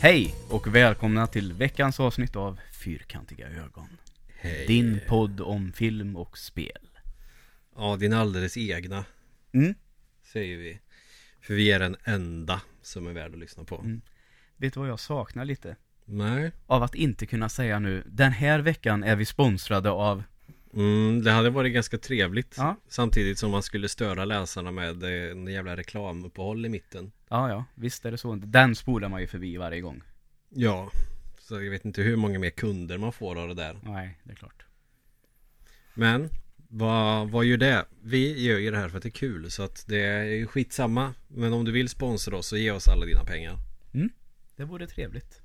Hej och välkomna till veckans avsnitt av Fyrkantiga ögon. Hej. Din podd om film och spel. Ja, din alldeles egna Mm. säger vi. För vi är den enda som är värd att lyssna på. Mm. Vet du vad jag saknar lite? Nej. Av att inte kunna säga nu, den här veckan är vi sponsrade av... Mm, det hade varit ganska trevligt. Ja. Samtidigt som man skulle störa läsarna med eh, en jävla reklamuppehåll i mitten. Ja, ja, visst är det så. Den spolar man ju förbi varje gång. Ja. Så jag vet inte hur många mer kunder man får av det där. Nej, det är klart. Men vad, vad gör det? Vi gör ju det här för att det är kul. Så att det är ju skitsamma. Men om du vill sponsra oss så ge oss alla dina pengar. Det vore trevligt.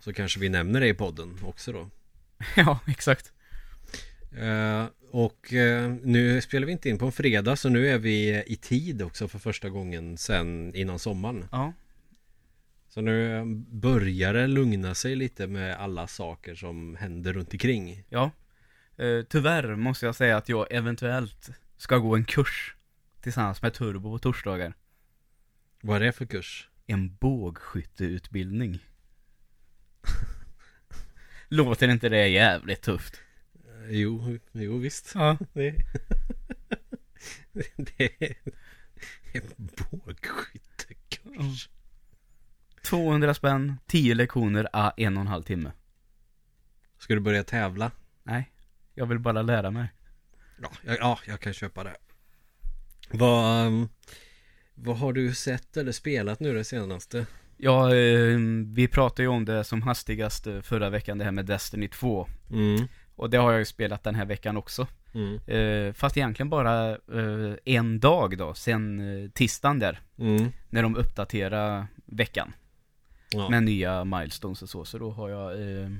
Så kanske vi nämner det i podden också då. ja, exakt. Eh, och eh, nu spelar vi inte in på en fredag så nu är vi i tid också för första gången sen innan sommaren. Ja, Så nu börjar det lugna sig lite med alla saker som händer runt omkring. ja. Eh, tyvärr måste jag säga att jag eventuellt ska gå en kurs tillsammans med Turbo på torsdagar. Vad är det för kurs? en bågskytteutbildning. Låter inte det jävligt tufft? Eh, Jo, jo visst. Ja. Det, det är en bågskyttekurs. 200 spänn, 10 lektioner, a en och en halv timme. Ska du börja tävla? Nej, jag vill bara lära mig. Ja, jag, ja, jag kan köpa det. Vad, ehm, vad har du sett eller spelat nu det senaste? Ja, eh, vi pratade ju om det som hastigast eh, förra veckan, det här med Destiny 2. Mm. Och det har jag ju spelat den här veckan också. Mm. Eh, fast egentligen bara eh, en dag då, sen eh, tisdagen där. Mm. När de uppdaterar veckan. Ja. med nya milestones och så, så då har jag eh,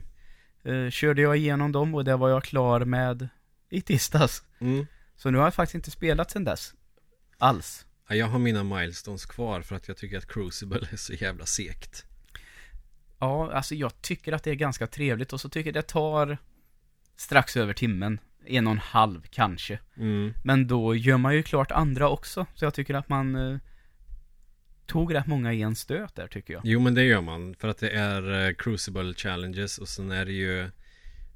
eh, Körde jag igenom dem och det var jag klar med i tisdags Mm. Så nu har jag faktiskt inte spelat sedan dess Alls Ja, jag har mina milestones kvar för att jag tycker att Crucible är så jävla segt. Ja, alltså jag tycker att det är ganska trevligt och så tycker jag det tar Strax över timmen En och en halv kanske Mm. Men då gör man ju klart andra också Så jag tycker att man eh, Tog rätt många i en stöt där tycker jag Jo, men det gör man för att det är eh, Crucible challenges och sen är det ju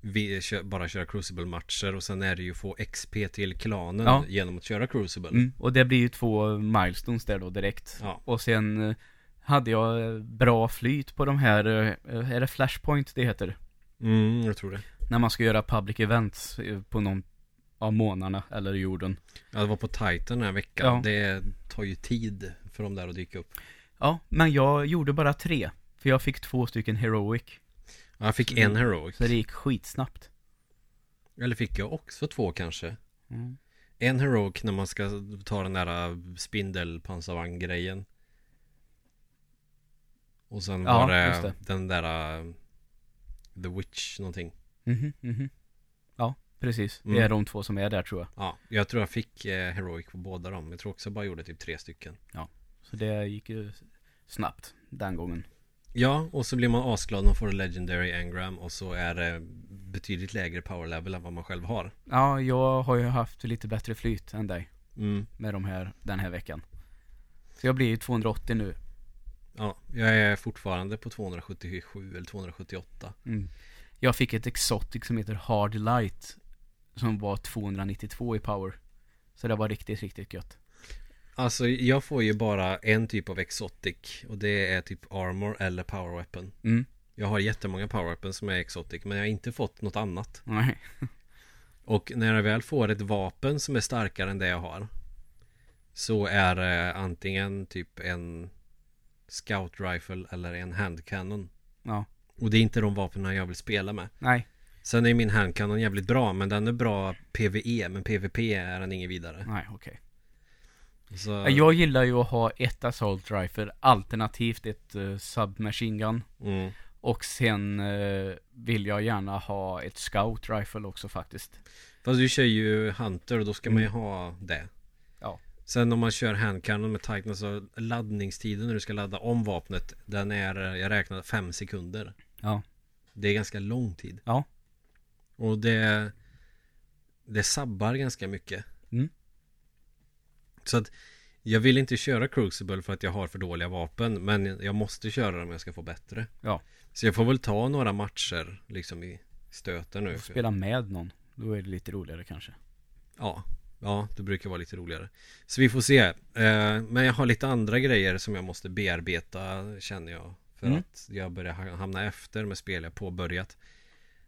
vi kö- bara köra Crucible-matcher och sen är det ju få XP till klanen Ja. genom att köra Crucible. Mm, och det blir ju två milestones där då direkt. Ja. Och sen eh, hade jag eh, bra flyt på de här, eh, är det Flashpoint det heter? Mm, jag tror det. När man ska göra public events eh, på någon av månaderna eller jorden. Ja, det var på Titan den här veckan. Ja. Det tar ju tid för de där att dyka upp. Ja, men jag gjorde bara tre. För jag fick två stycken heroic. Ja, jag fick Mm. en heroic. Så det gick skitsnabbt. Eller fick jag också två kanske? Mm. En heroic när man ska ta den där äh, spindelpansarvagn-grejen Och sen Ja, var just det, det. den där uh, The Witch någonting Mhm, mhm. Ja, precis. Det är Mm. de två som är där tror jag. Ja, jag tror jag fick eh, Heroic på båda dem Jag tror också jag bara gjorde typ tre stycken Så det gick ju snabbt den gången. Ja, och så blir man asglad när man får en Legendary Engram Och så är det betydligt lägre power level än vad man själv har Ja, jag har ju haft lite bättre flyt än dig. mm. med de här den här veckan. Så jag blir ju 280 nu. Ja, jag är fortfarande på 277 eller 278 Mm. Jag fick ett exotic som heter Hard Light som var 292 i power. Så det var riktigt, riktigt gött. Alltså jag får ju bara en typ av exotic och det är typ armor eller power weapon. Mm. Jag har jättemånga power weapons som är exotic men jag har inte fått något annat. Nej. Och när jag väl får ett vapen som är starkare än det jag har så är det antingen typ en scout rifle eller en hand cannon. Ja. Och det är inte de vapnen jag vill spela med. Nej. Sen är min hand cannon jävligt bra men den är bra PVE men PVP är den ingen vidare. Nej, okej. Så, Jag gillar ju att ha ett assault rifle alternativt ett uh, submachine gun. mm. Och sen eh, vill jag gärna ha ett scout rifle också faktiskt. Fast du kör ju Hunter och då ska man ju Mm. ha det. Ja. Sen om man kör handcannon med Titan så laddningstiden när du ska ladda om vapnet den är, jag räknade, fem sekunder. Ja. Det är ganska lång tid. Ja. Och det det sabbar ganska mycket. Mm. Så att Jag vill inte köra Crucible för att jag har för dåliga vapen Men jag måste köra dem om jag ska få bättre Ja. Så jag får väl ta några matcher liksom i stöten nu Och spela med någon. Då är det lite roligare kanske. Ja, ja det brukar vara lite roligare Så vi får se eh, Men jag har lite andra grejer som jag måste bearbeta känner jag För Mm. att jag börjar ha- hamna efter med spel jag påbörjat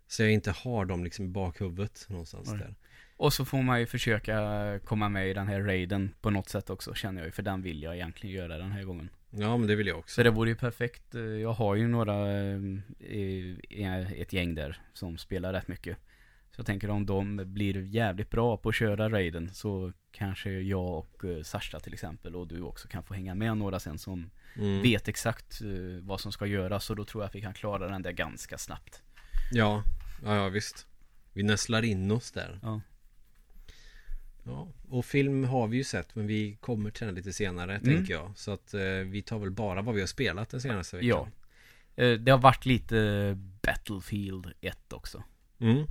Så jag inte har dem liksom i bakhuvudet någonstans Nej. där Och så får man ju försöka komma med i den här raiden på något sätt också känner jag ju. För den vill jag egentligen göra den här gången. Ja men det vill jag också Så det vore ju perfekt. Eh, Jag har ju några, eh, eh, ett gäng där som spelar rätt mycket. Så jag tänker om de blir jävligt bra på att köra raiden så kanske jag och eh, Sasha till exempel och du också kan få hänga med några sen som Mm. vet exakt eh, vad som ska göras och då tror jag att vi kan klara den där ganska snabbt. Ja, ja, ja visst. Vi näslar in oss där. Ja. Ja, och film har vi ju sett men vi kommer till den lite senare Mm. tänker jag. Så att eh, vi tar väl bara vad vi har spelat den senaste veckan. Ja. Eh, Det har varit lite eh, Battlefield 1 också. Ja. Mm.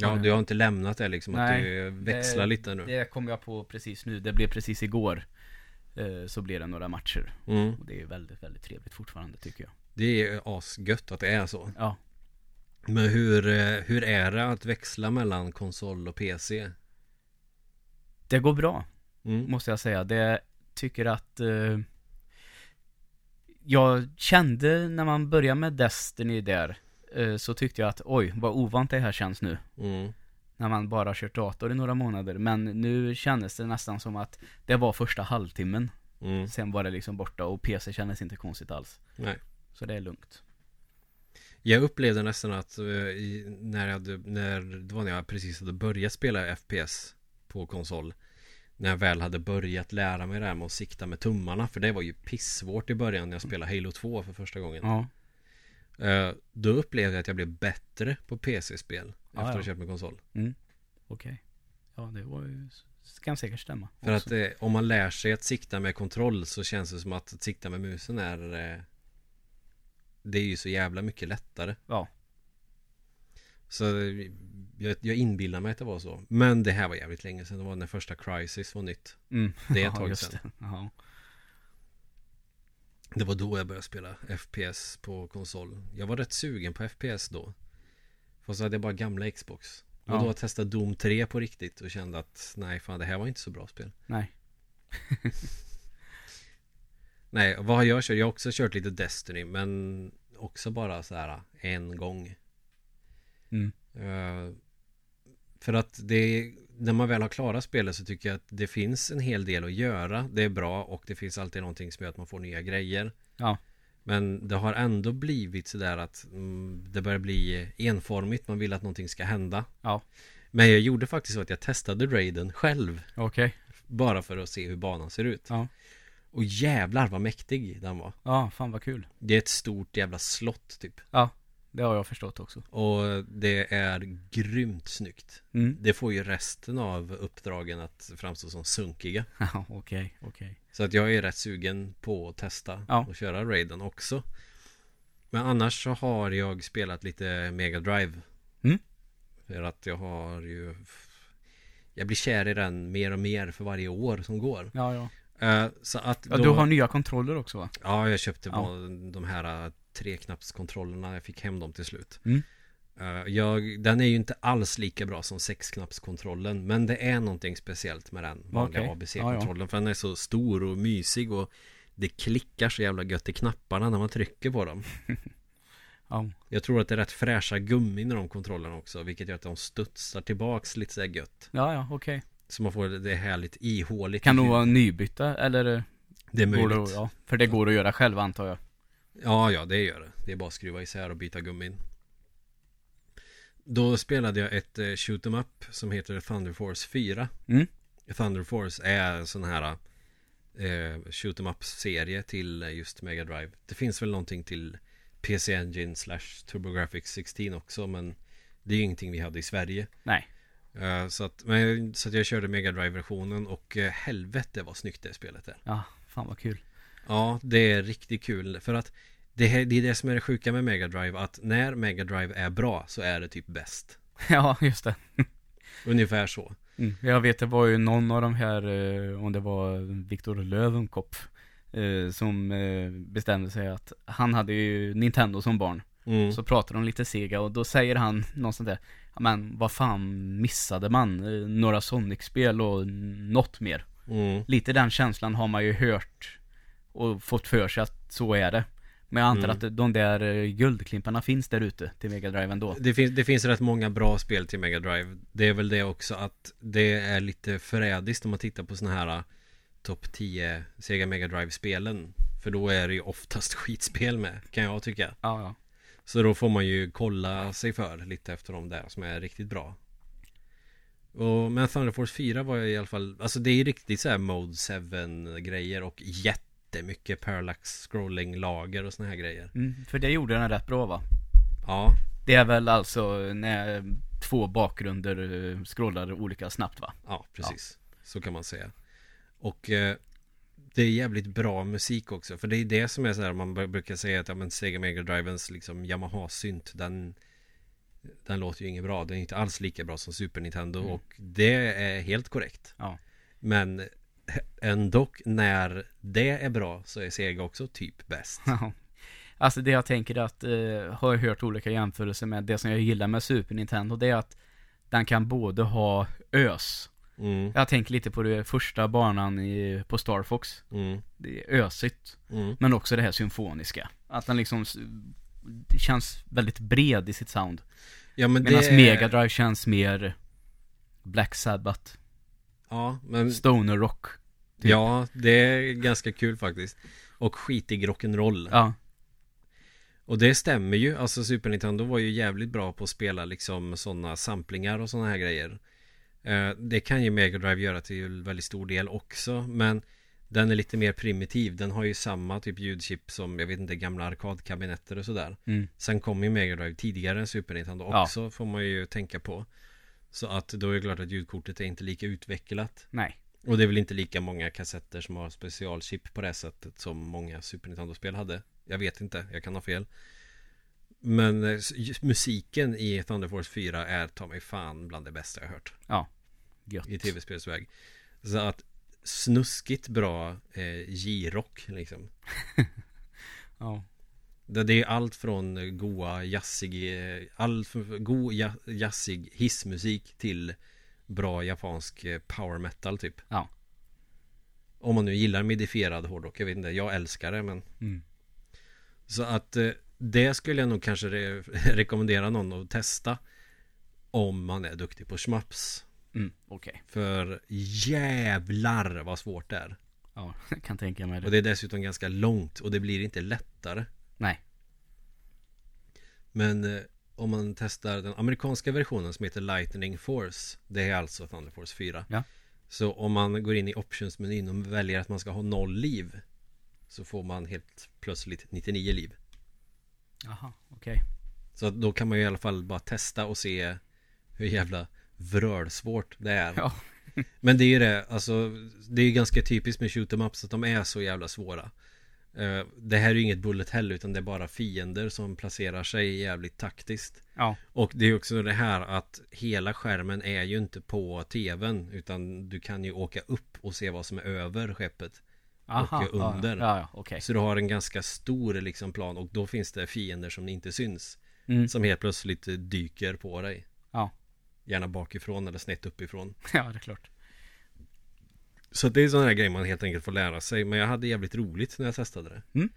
Ja, Ja. du har inte lämnat det liksom Mm. Nej, att du växlar det- lite nu. Det kom jag på precis nu. Det blev precis igår. eh, Så blev det några matcher. Mm. Och det är väldigt, väldigt trevligt fortfarande tycker jag. Det är asgött att det är så. Ja. Men hur, eh, hur är det att växla mellan konsol och PC? Det går bra, Mm. måste jag säga. Det tycker att... eh, jag kände när man började med Destiny där, eh, så tyckte jag att oj, vad ovant det här känns nu. Mm. när man bara kört dator i några månader. Men nu kändes det nästan som att det var första halvtimmen. Mm. Sen var det liksom borta och PC kändes inte konstigt alls. Nej. Så det är lugnt. Jag upplevde nästan att eh, i, när, jag hade, när det var när jag precis hade börjat spela FPS på konsol När jag väl hade börjat lära mig det här med att sikta med tummarna För det var ju pissvårt i början när jag spelade Halo 2 för första gången Ja, Eh, Då upplevde jag att jag blev bättre på PC-spel Ah, efter att ja. ha köpt min konsol okej. Ja, det var ju... Ska säkert stämma. För också. att eh, om man lär sig att sikta med kontroll så känns det som att, att sikta med musen är eh, Det är ju så jävla mycket lättare Ja. Så eh, jag, jag inbillar mig att det var så Men det här var jävligt länge sedan Det var när första Crisis var nytt Mm. Det är ett Ja, tag just sedan det. Ja. Det var då jag började spela FPS på konsol Jag var rätt sugen på FPS då Fast så hade jag bara gamla Xbox Och Ja. då testade Doom 3 på riktigt och kände att Nej fan det här var inte så bra spel Nej. Nej, vad har jag kört? Jag har också kört lite Destiny men också bara så här en gång. Mm. Eh, för att det, när man väl har klarat spelet så tycker jag att det finns en hel del att göra. Det är bra och det finns alltid någonting som gör att man får nya grejer. Ja. Men det har ändå blivit sådär att mm, det börjar bli enformigt. Man vill att någonting ska hända. Ja. Men jag gjorde faktiskt så att jag testade Raiden själv. Okej. Bara för att se hur banan ser ut. Ja. Och jävlar vad mäktig den var. Ja, fan vad kul. Det är ett stort jävla slott typ Det har jag förstått också. Och det är grymt snyggt Mm. Det får ju resten av uppdragen att framstå som sunkiga Ja, okej, okej. Så att jag är rätt sugen på att testa Ja. och köra Raiden också Men annars så har jag spelat lite Mega Drive Mm. För att jag har ju Jag blir kär i den mer och mer för varje år som går Ja, ja. Eh, Så att ja då- du har nya kontroller också va? Ja, jag köpte Ja. på de här äh, treknappskontrollerna. Jag fick hem dem till slut. Mm. Äh, Jag, den är ju inte alls lika bra som sexknappskontrollen. Men det är någonting speciellt med den vanliga Okej. ABC-kontrollen. För den är så stor och mysig och det klickar så jävla gött i knapparna när man trycker på dem. Ja. Jag tror att det är rätt fräscha gummin i de kontrollerna också. Vilket gör att de studsar tillbaks lite så här gött. Ja, ja, okej. Så man får det härligt ihåligt. Kan nog vara nybytta eller? eh, Det är Går möjligt. det, att- ja, för det går att göra själv antar jag. Ja, ja, det gör det. Det är bara att skruva isär och byta gummin. Då spelade jag ett eh, shoot 'em up som heter Thunder Force 4. Mm. Thunder Force är en sån här eh, shoot 'em up-serie till eh, just Mega Drive. Det finns väl någonting till PC Engine slash TurboGrafx 16 också, men det är ju ingenting vi hade i Sverige. Nej. Eh, så, att, men, så att jag körde Mega Drive-versionen och eh, helvete vad snyggt det spelet är. Ja, fan vad kul. Ja, det är riktigt kul för att det, här, det är det som är det sjuka med Mega Drive att när Mega Drive är bra så är det typ bäst. ja, just det. Ungefär så. Mm. Jag vet det var ju någon av de här, eh, om det var Viktor Löwenkopf, eh, som eh, bestämde sig att han hade ju Nintendo som barn. Mm. Så pratar de lite Sega och då säger han något sånt där. "Ja, Men vad fan missade man? Eh, Några Sonic-spel och något mer. Mm. Lite den känslan har man ju hört och fått för sig att så är det. Men jag antar Mm. att de där eh, guldklimparna finns där ute till Mega Drive ändå. Det, finns, det finns rätt många bra spel till Mega Drive. Det är väl det också att det är lite förrädiskt om man tittar på sådana här eh, topp 10 Sega Mega Drive-spelen. För då är det ju oftast skitspel med, kan jag tycka. Ja, ja. Så då får man ju kolla sig för lite efter de där som är riktigt bra. Och, men Thunder Force 4 var jag i alla fall, alltså det är ju riktigt så här Mode 7 grejer och jättemycket parallax scrolling lager och såna här grejer. Mm, för det gjorde den rätt bra va? Ja, Det är väl alltså när två bakgrunder eh, scrollar olika snabbt va? ja precis. Så kan man säga. Och eh, det är jävligt bra musik också. För det är det som är så här, man br- brukar säga att ja, men Sega Mega Drivens liksom Yamaha-synt, den, den låter ju inget bra. Den är inte alls lika bra som Super Nintendo Mm. och det är helt korrekt. Ja. Men eh, ändå när det är bra så är Sega också typ bäst. Ja. Alltså det jag tänker är att, eh, har jag hört olika jämförelser med, det som jag gillar med Super Nintendo det är att den kan både ha ös, Mm, jag tänker lite på det första banan i, på Star Fox, mm, det är ösigt, mm, men också det här symfoniska. Att den liksom s- det känns väldigt bred i sitt sound. Ja men Medan det är... Mega Drive känns mer Black Sabbath, Ja, men Stoner Rock. typ. ja, det är ganska kul faktiskt. Och skitig rock'n'roll. Ja, Och det stämmer ju, alltså Super Nintendo var ju jävligt bra på att spela liksom sådana samplingar och sådana här grejer. Eh, Det kan ju Mega Drive göra till väldigt stor del också, men den är lite mer primitiv. Den har ju samma typ ljudchip som, jag vet inte, gamla arkadkabinetter och sådär. mm. Sen kom ju Mega Drive tidigare än Super Nintendo Ja. också, får man ju tänka på. Så att då är det klart att ljudkortet är inte lika utvecklat. nej. Och det är väl inte lika många kassetter som har specialchip på det här sättet som många Super Nintendo-spel hade. Jag vet inte, jag kan ha fel. Men eh, s- just musiken i Thunder Force 4 är ta mig fan bland det bästa jag har hört Gött. i tv-spelsväg. Så att snuskigt bra eh, J-rock liksom. Ja. Det det är allt från eh, goa jazzig, eh, all f- god ja- jazzig hissmusik till bra japansk eh, power metal typ. Ja. Om man nu gillar modifierad hårdrock, jag vet inte, jag älskar det men. Mm. Så att eh, det skulle jag nog kanske re- rekommendera någon att testa. Om man är duktig på schmaps. Mm. Okej. För jävlar vad svårt det är. Ja, jag kan tänka mig Och det. det är dessutom ganska långt och det blir inte lättare. Nej. Men eh, om man testar den amerikanska versionen som heter Lightning Force Det är alltså Thunder Force 4 Ja. Så om man går in i optionsmenyn och väljer att man ska ha noll liv Så får man helt plötsligt 99 liv Jaha, okej. Så att då kan man ju i alla fall bara testa och se hur jävla vrölsvårt det är Ja. Men det är ju det, alltså det är ju ganska typiskt med shoot 'em ups att de är så jävla svåra. Eh, Det här är ju inget bullet hell utan det är bara fiender som placerar sig jävligt taktiskt. Ja. Och det är ju också det här att hela skärmen är ju inte på tvn utan du kan ju åka upp och se vad som är över skeppet. Aha. Och under. Ja, ja, ja okej. Så du har en ganska stor liksom plan och då finns det fiender som inte syns. Mm. Som helt plötsligt eh, dyker på dig. Ja. Gärna bakifrån eller snett uppifrån. Ja, det är klart. Så det är sådana här grejer man helt enkelt får lära sig. Men jag hade jävligt roligt när jag testade det. Mm.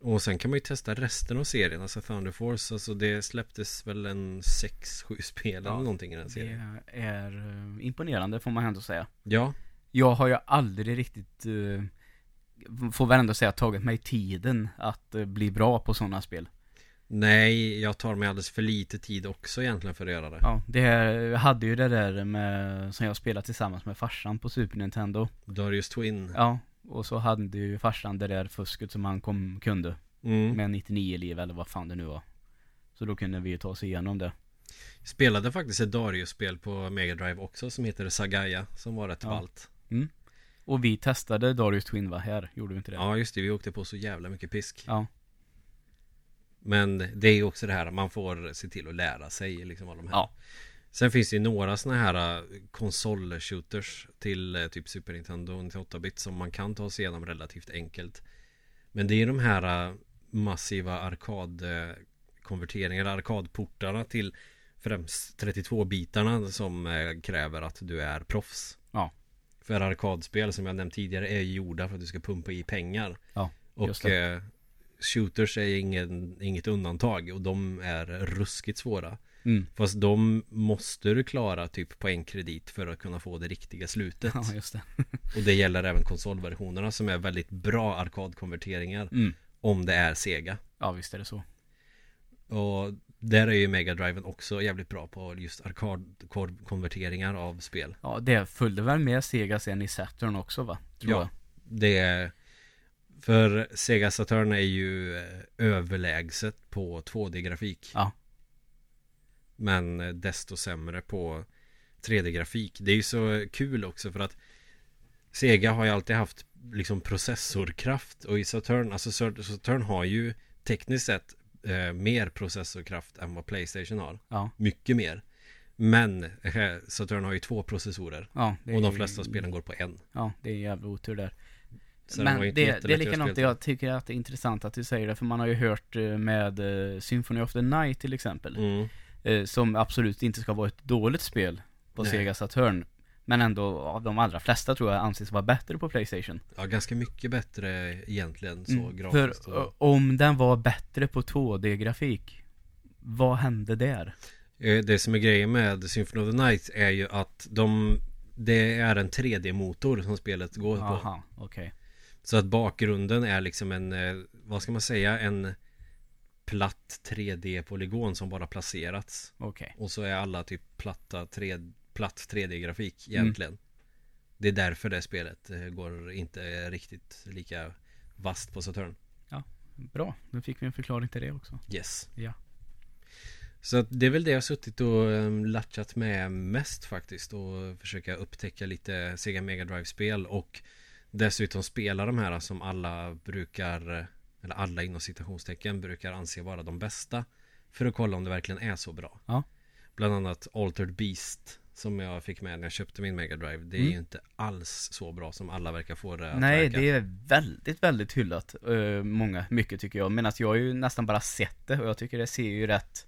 Och sen kan man ju testa resten av serien, alltså Thunder Force. Alltså det släpptes väl en 6-7 spel eller Ja, någonting i den Det serien. är eh, imponerande får man ändå säga. Ja, Jag har ju aldrig riktigt, eh, får väl ändå säga, tagit mig tiden att eh, bli bra på sådana spel. nej, jag tar mig alldeles för lite tid också egentligen för att göra det. Ja, det här, jag hade ju det där med, som jag spelade tillsammans med farsan på Super Nintendo. Darius Twin. Ja, och så hade ju farsan det där fusket som han kom, kunde. Mm. Med 99 liv eller vad fan det nu var. Så då kunde vi ju ta oss igenom det. Spelade faktiskt ett Darius-spel på Mega Drive också som heter Sagaya som var rätt Ja. ballt. Och vi testade Darius Twin va? Här gjorde vi inte det? Ja, just det. Vi åkte på så jävla mycket pisk. Ja. Men det är ju också det här, man får se till att lära sig liksom av de här. Ja. Sen finns det ju några sådana här eh, konsol-shooters till eh, typ Super Nintendo och 98-bit som man kan ta sig igenom relativt enkelt. Men det är de här eh, massiva arkadkonverteringarna, arkadportarna till främst 32-bitarna som eh, kräver att du är proffs. Ja. För arkadspel som jag nämnt tidigare är ju gjorda för att du ska pumpa i pengar. Ja, just Och det. eh, shooters är ingen, inget undantag och de är ruskigt svåra. Mm. Fast de måste du klara typ på en kredit för att kunna få det riktiga slutet. Ja, just det. Och det gäller även konsolversionerna som är väldigt bra arkadkonverteringar Mm. om det är Sega. Ja, visst är det så. Och där är ju Mega Driven också jävligt bra på just arkadkonverteringar av spel. Ja, det följde väl med Sega sen i Saturn också va? Tror Ja. jag. Det är för Sega Saturn är ju eh, överlägset på 2D-grafik. Ja. Men eh, desto sämre på 3D-grafik. Det är ju så kul också för att Sega har ju alltid haft liksom processorkraft och i Saturn, alltså Sat- Saturn har ju tekniskt sett eh, mer processorkraft än vad Playstation har. Ja. Mycket mer. Men eh, Saturn har ju två processorer Ja, det och är de ju- flesta spelen går på en. Ja, det är jävla otur där. Så Men var ju det, det, inte är jättelätt att göra likadant, spel. jag tycker att det är intressant att du säger det, för man har ju hört eh, med eh, Symphony of the Night till exempel, Mm. eh, som absolut inte ska vara ett dåligt spel på Nej. Sega Saturn, men ändå av de allra flesta tror jag anses vara bättre på Playstation. Ja, ganska mycket bättre egentligen så Mm, grafiskt. för och- eh, om den var bättre på 2D-grafik, vad hände där? Eh, Det som är grejen med Symphony of the Night är ju att de Det är en 3D-motor som spelet går på. Aha, okej. Så att bakgrunden är liksom en, eh, vad ska man säga, en platt 3D-polygon som bara placerats. Okej. Och så är alla typ platta 3, platt 3D-grafik Mm. egentligen. Det är därför det spelet eh, går inte riktigt lika vasst på Saturn. Bra, nu fick vi en förklaring till det också. Yes. Ja. Så att det är väl det jag har suttit och um, latchat med mest faktiskt och försöka upptäcka lite Sega Mega Drive-spel och dessutom spela de här som alla brukar eller alla inom citationstecken brukar anse vara de bästa för att kolla om det verkligen är så bra. Ja. Bland annat Altered Beast som jag fick med när jag köpte min Mega Drive. Det är Mm. ju inte alls så bra som alla verkar få det att Nej, verka. det är väldigt, väldigt hyllat. eh, många, mycket tycker jag. Men att jag har ju nästan bara sett det och jag tycker det ser ju rätt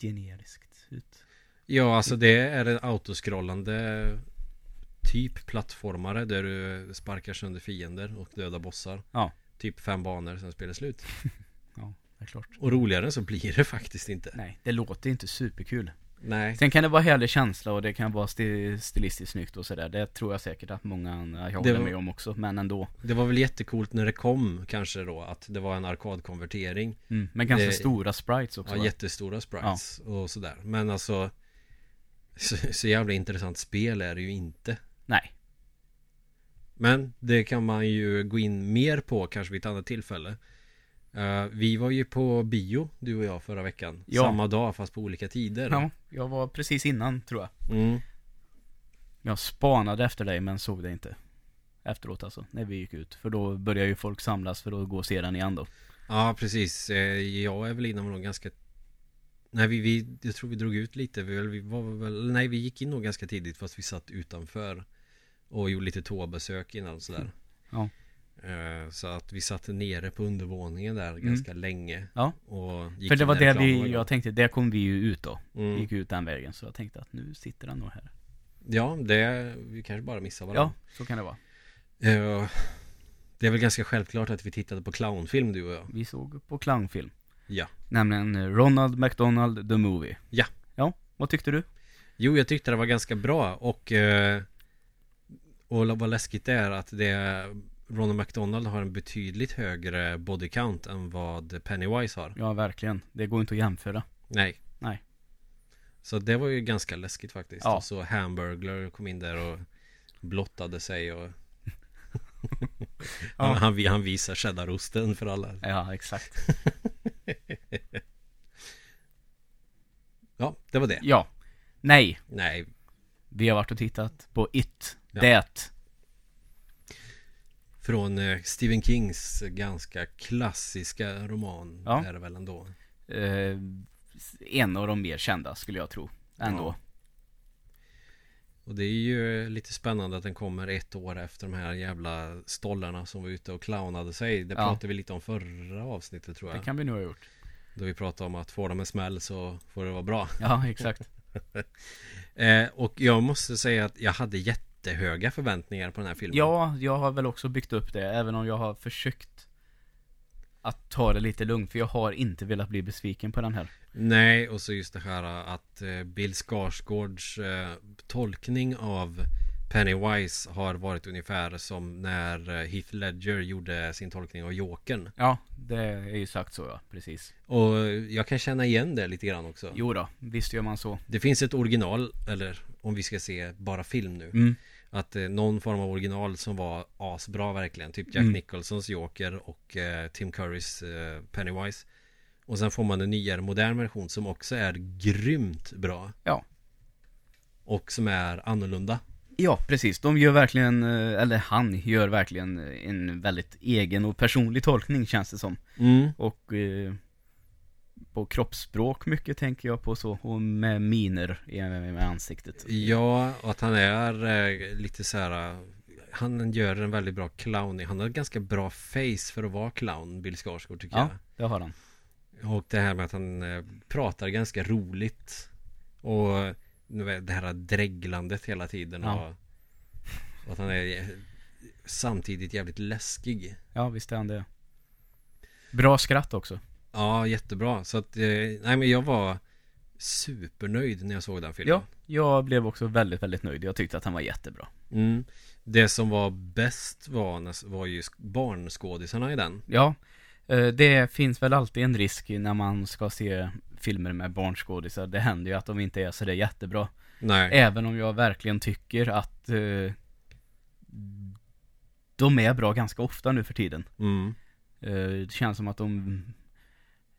generiskt ut. Ja, alltså det är en autoscrollande typ plattformare där du sparkar sönder fiender och dödar bossar. Ja. Typ fem banor, sen spelar slut. Ja, det är klart. Och roligare än så blir det faktiskt inte. Nej, det låter inte superkul. Nej. Sen kan det vara härlig känsla och det kan vara sti- stilistiskt snyggt och sådär. Det tror jag säkert att många andra jag Det håller var- med om också, men ändå. Det var väl jättecoolt när det kom kanske då att det var en arkadkonvertering. Mm. Men ganska Det- stora sprites också. Ja, va? jättestora sprites och sådär. Men alltså så, så jävla intressant spel är det ju inte. Nej. Men det kan man ju gå in mer på kanske vid ett annat tillfälle. Eh, vi var ju på bio, du och jag, förra veckan. Ja. Samma dag fast på olika tider. Ja, jag var precis innan tror jag. Mm. Jag spanade efter dig men såg dig inte. Efteråt alltså, när vi gick ut. För då började ju folk samlas för att gå och se den igen då. ja precis. Eh, jag och Evelina var nog ganska... Nej, vi, vi, jag tror vi drog ut lite. Vi, vi var väl... Nej, vi gick in nog ganska tidigt fast vi satt utanför. Och gjorde lite toabesök innan och sådär. Mm. Ja. Eh, så att vi satt nere på undervåningen där ganska länge. Mm. Ja. Och gick För det in var när det reklamen var vi, igång. jag tänkte, där kom vi ju ut då. Mm. Vi gick ut den vägen. Så jag tänkte att nu sitter han nog här. Ja, det, vi kanske bara missar varandra. Ja, så kan det vara. Eh, Det är väl ganska självklart att vi tittade på clownfilm du och jag. Vi såg på clownfilm. Ja. Nämligen eh, Ronald McDonald The Movie. Ja. Ja, vad tyckte du? Jo, jag tyckte det var ganska bra och... eh, Och vad läskigt det är att det... Ronald McDonald har en betydligt högre body count än vad Pennywise har. Ja, verkligen. Det går inte att jämföra. Nej. Nej. Så det var ju ganska läskigt faktiskt. Ja. Och så Hamburglar kom in där och blottade sig och... han, han, han visar cheddarosten för alla. Ja, exakt. Ja, det var det. Ja. Nej, Nej, vi har varit och tittat på It. Ja. Det. Från eh, Stephen Kings ganska klassiska roman Ja. är det väl ändå Eh, en av de mer kända skulle jag tro. ändå. Ja. Och det är ju eh, lite spännande att den kommer ett år efter de här jävla stollarna som var ute och clownade sig. Det Ja. pratade vi lite om förra avsnittet tror Det jag. kan vi nog ha gjort. Då vi pratade om att får de en smäll så får det vara bra. Ja, exakt. Eh, och jag måste säga att jag hade jättehöga förväntningar på den här filmen. Ja, jag har väl också byggt upp det, även om jag har försökt att ta det lite lugnt, för jag har inte velat bli besviken på den här. Nej, och så just det här eh, att eh, Bill Skarsgårds eh, tolkning av Pennywise har varit ungefär som när eh, Heath Ledger gjorde sin tolkning av Jokern. Ja, det är ju sagt så ja, precis. Och eh, jag kan känna igen det lite grann också. Jo då, visst gör man så. Det finns ett original, eller om vi ska se bara film nu. Mm. Att eh, någon form av original som var asbra verkligen. Typ Jack Mm. Nicholsons Joker och eh, Tim Currys eh, Pennywise. Och sen får man en nyare modern version som också är grymt bra. Ja. Och som är annorlunda. Ja, precis. De gör verkligen, eh, eller han gör verkligen eh, en väldigt egen och personlig tolkning känns det som. Och eh, på kroppsspråk mycket tänker jag på så, och med miner i med ansiktet. Ja, och att han är eh, lite så här. eh, Han gör en väldigt bra clown. Han har ett ganska bra face för att vara clown, Bill Skarsgård tycker Ja, jag. det har han. Och det här med att han eh, pratar ganska roligt Och eh, nu vet, det här dreglandet hela tiden Ja. och, och att han är eh, samtidigt jävligt läskig Ja, visst är han det. Bra skratt också. Ja, jättebra Så att, eh, nej men jag var supernöjd när jag såg den filmen Ja, jag blev också väldigt, väldigt nöjd. Jag tyckte att han var jättebra. mm. Det som var bäst var, näs- var ju sk- barnskådisarna i den Ja, eh, det finns väl alltid en risk när man ska se filmer med barnskådisar. Det händer ju att de inte är så det är jättebra. Nej, Även om jag verkligen tycker att eh, de är bra ganska ofta nu för tiden. mm. Eh, det känns som att de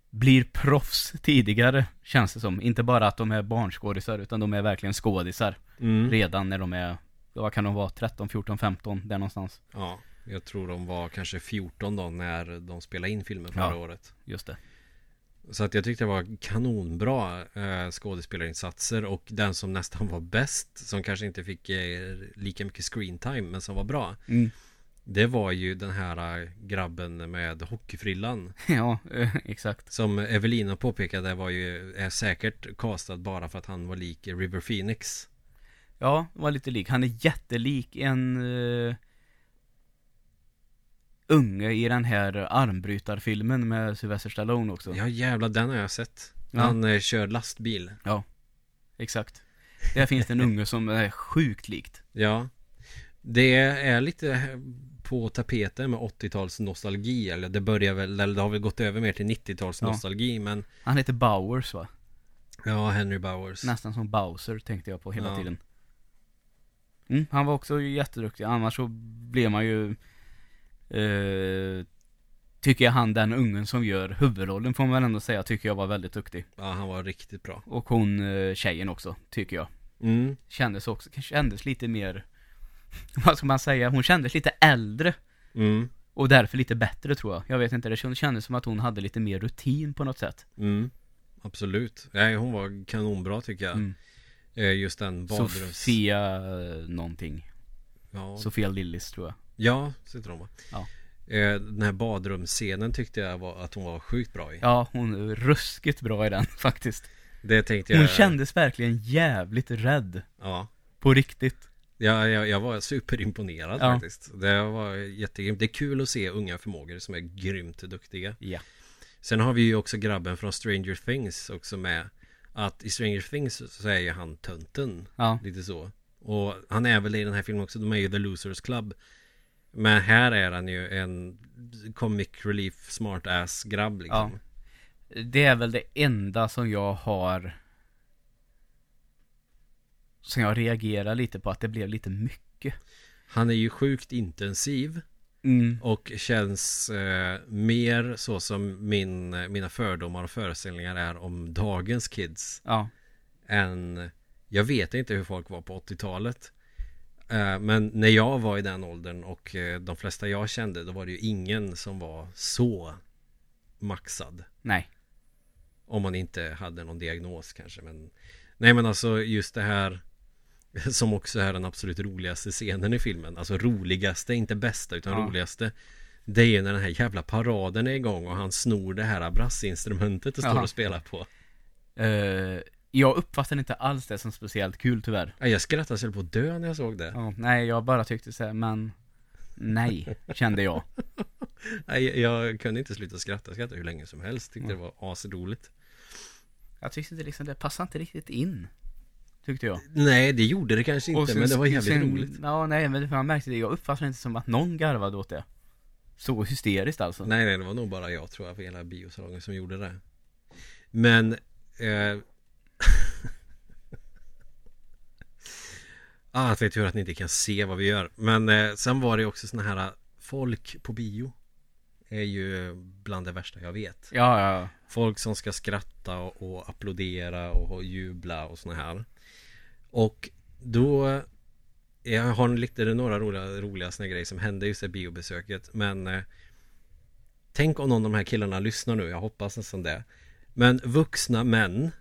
blir proffs tidigare, känns det som. Inte bara att de är barnskådisar, utan de är verkligen skådisar Mm. redan när de är, vad kan de vara, 13, 14, 15, där någonstans. Ja, jag tror de var kanske 14 då när de spelade in filmen förra Ja. året Just det. Så att jag tyckte det var kanonbra eh, skådespelarinsatser och den som nästan var bäst som kanske inte fick eh, lika mycket screentime men som var bra Mm. Det var ju den här eh, grabben med hockeyfrillan Ja, eh, exakt. Som Evelina påpekade var ju är säkert castad bara för att han var lik River Phoenix Ja, var lite lik. Han är jättelik en eh, unge i den här armbrytarfilmen med Sylvester Stallone också. Ja jävlar den har jag sett Ja. Han eh, kör lastbil Exakt. Där finns det en unge som är sjukt likt. Ja Det är lite på tapeten med 80-tals nostalgi Eller det börjar väl, eller det har väl gått över mer till 90-tals Ja. nostalgi men Han heter Bowers va? Ja, Henry Bowers Nästan som Bowser tänkte jag på hela Ja. tiden. Mm, han var också jätteduktig. Annars så blev man ju... Eh, tycker jag han den ungen som gör huvudrollen får man väl ändå säga tycker jag var väldigt duktig. Ja, han var riktigt bra Och hon eh, tjejen också tycker jag. mm. kändes också, kändes lite mer, vad ska man säga, hon kändes lite äldre Mm. och därför lite bättre tror jag. Jag vet inte, det kändes som att hon hade lite mer rutin på något sätt. Mm. Absolut Nej, hon var kanonbra tycker jag Mm. Eh, Just den badrums... Sofia eh, någonting. Ja, Sofia Lillis tror jag. ja så heter hon va? Ja. Eh, Den här badrumsscenen tyckte jag var, att hon var sjukt bra i Ja, hon är ruskigt bra i den faktiskt. Det tänkte jag Hon kändes verkligen jävligt rädd. Ja På riktigt. Ja, jag, jag var superimponerad Ja. faktiskt. Det var jättegrymt. Det är kul att se unga förmågor som är grymt duktiga. Ja. Sen har vi ju också grabben från Stranger Things också med. Att i Stranger Things så är ju han tönten. Ja, Lite så. Och han är väl i den här filmen också. De är ju The Losers Club. Men här är han ju en comic relief smart ass grabb liksom. Ja. det är väl det enda som jag har som jag reagerar lite på att det blev lite mycket. Han är ju sjukt intensiv. Mm. Och känns eh, mer så som min, mina fördomar och föreställningar är om dagens kids Ja, än Jag vet inte hur folk var på 80-talet eh, Men när jag var i den åldern och eh, de flesta jag kände Då var det ju ingen som var så maxad nej. Om man inte hade någon diagnos kanske men Nej men alltså just det här som också är den absolut roligaste scenen i filmen. Alltså roligaste, inte bästa utan Ja. roligaste. Det är ju när den här jävla paraden är igång och han snor det här brassinstrumentet och står Ja. och spelar på. Eh, jag uppfattar inte alls det som speciellt kul tyvärr. Ja, Jag skrattade så jag höll på att dö när jag såg det. Ja, nej, jag bara tyckte så här, men nej, kände jag. Nej, jag kunde inte sluta skratta. Jag skrattade hur länge som helst. Tyckte det var asroligt. Jag tyckte det liksom, det passade inte riktigt in. Tyckte jag. Nej, det gjorde det kanske inte. Och sen- men det var jävligt sen- roligt. Ja, nej, men man märkte det. Jag uppfattade inte som att någon garvade åt det. Så hysteriskt alltså. Nej, nej, det var nog bara jag tror jag för hela biosalongen som gjorde det. Men... Eh... ah, att vi tur att ni inte kan se vad vi gör. Men eh, sen var det ju också såna här eh, folk på bio. Är ju bland det värsta jag vet. Ja, ja, Folk som ska skratta och, och applådera och jubla och såna här. Och då jag har en lite några roliga, roliga såna grejer som hände just i biobesöket. Men eh, tänk om någon av de här killarna lyssnar nu. Jag hoppas nästan det. Men vuxna män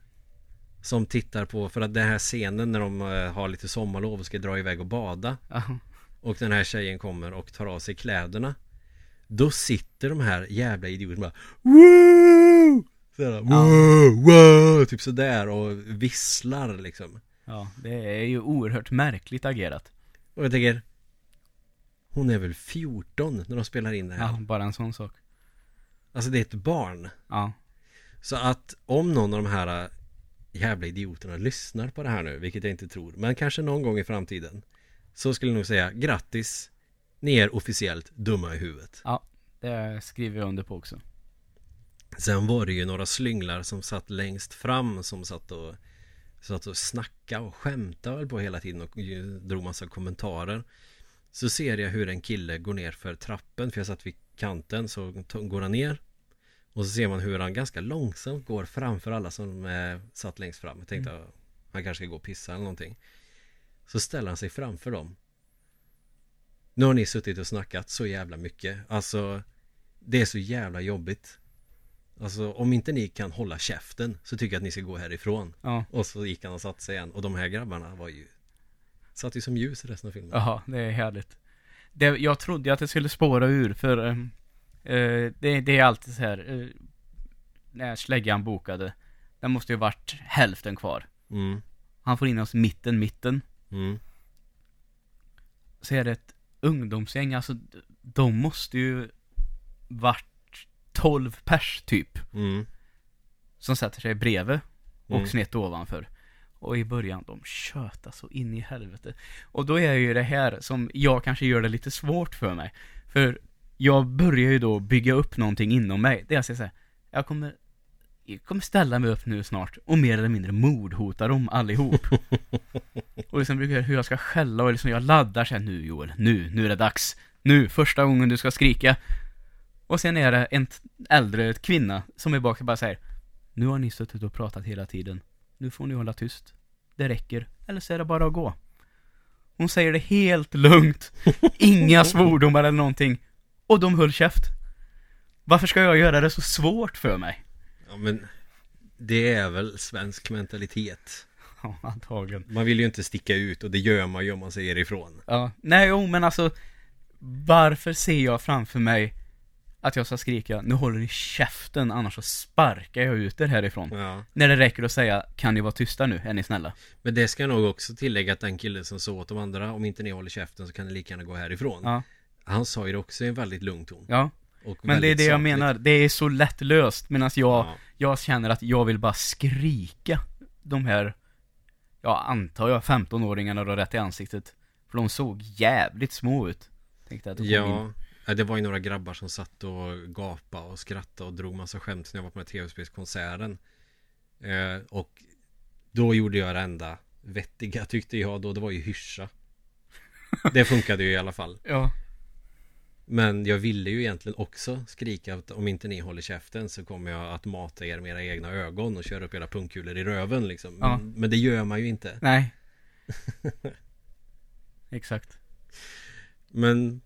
som tittar på, för att den här scenen när de eh, har lite sommarlov och ska dra iväg och bada. ja. Och den här tjejen kommer och tar av sig kläderna Då sitter de här jävla idioterna bara Woo! Sådär, wow, wow, typ sådär och visslar liksom Ja, det är ju oerhört märkligt agerat. Och jag tänker Hon är väl 14 när de spelar in det här Ja, bara en sån sak. Alltså det är ett barn Ja, Så att om någon av de här äh, jävla idioterna lyssnar på det här nu, vilket jag inte tror, men kanske någon gång i framtiden Så skulle jag nog säga grattis Ni är officiellt dumma i huvudet ja. Det skriver jag under på också. Sen var det ju några slynglar som satt längst fram som satt och satt och snackade och skämtade väl på hela tiden och ju- drog massa kommentarer. Så ser jag hur en kille går ner för trappen för jag satt vid kanten så to- går han ner. Och så ser man hur han ganska långsamt går framför alla som eh, satt längst fram. Jag tänkte Mm. att han kanske ska gå och pissa eller någonting. Så ställer han sig framför dem. Nu har ni suttit och snackat så jävla mycket. Alltså det är så jävla jobbigt. Alltså om inte ni kan hålla käften så tycker jag att ni ska gå härifrån. Ja, Och så gick han och satte sig igen. Och de här grabbarna var ju satt ju som ljus i resten av filmen. ja det är härligt. Det, jag trodde ju att det skulle spåra ur för ehm, eh, det, det är alltid så här. eh, när släggan bokade. Den måste ju varit hälften kvar. Mm, Han får in oss mitten, mitten. mm. så är det ett ungdomsgäng, alltså de måste ju varit 12 pers typ, Mm, som sätter sig bredvid och Mm. snett ovanför. Och i början, de tjötar så in i helvete. Och då är ju det här som jag kanske gör det lite svårt för mig. För jag börjar ju då bygga upp någonting inom mig. Det jag säger så här, jag kommer, jag kommer ställa mig upp nu snart och mer eller mindre mordhota dem allihop. och liksom brukar jag hur jag ska skälla och liksom jag laddar så här, nu Joel, nu, nu är det dags. Nu, första gången du ska skrika. Och sen är det en t- äldre kvinna som är bak och bara säger Nu har ni suttit och pratat hela tiden. Nu får ni hålla tyst. Det räcker. Eller så är det bara att gå. Hon säger det helt lugnt. Inga svordomar eller någonting. Och de höll käft. Varför ska jag göra det så svårt för mig? Ja men det är väl svensk mentalitet. Ja, antagligen. Man vill ju inte sticka ut och det gör man ju om man säger ifrån. Ja. Nej, jo, men alltså. Varför ser jag framför mig att jag ska skrika Nu håller ni käften annars så sparkar jag ut er härifrån. Ja. När det räcker att säga Kan ni vara tysta nu? Är ni snälla? Men det ska jag nog också tillägga att den killen som sa åt de andra om inte ni håller käften så kan ni lika gärna gå härifrån. Ja. Han sa ju det också i en väldigt lugn ton. Ja. Och Men det är väldigt det jag sakligt. menar, det är så lättlöst medan jag, Ja. jag känner att jag vill bara skrika de här, jag antar jag 15-åringarna då rätt i ansiktet. För de såg jävligt små ut. Tänkte att de kom in. Ja, ja, det var ju några grabbar som satt och gapade och skrattade och drog massa skämt när jag var på den här tv-spelskonserten. Eh, och då gjorde jag det enda vettiga tyckte jag då, det var ju hyrsa. Det funkade ju i alla fall. ja. Men jag ville ju egentligen också skrika att om inte ni håller käften så kommer jag att mata er med era egna ögon och köra upp era pungkulor i röven liksom. Men, Ja. men det gör man ju inte. Nej. Exakt. Men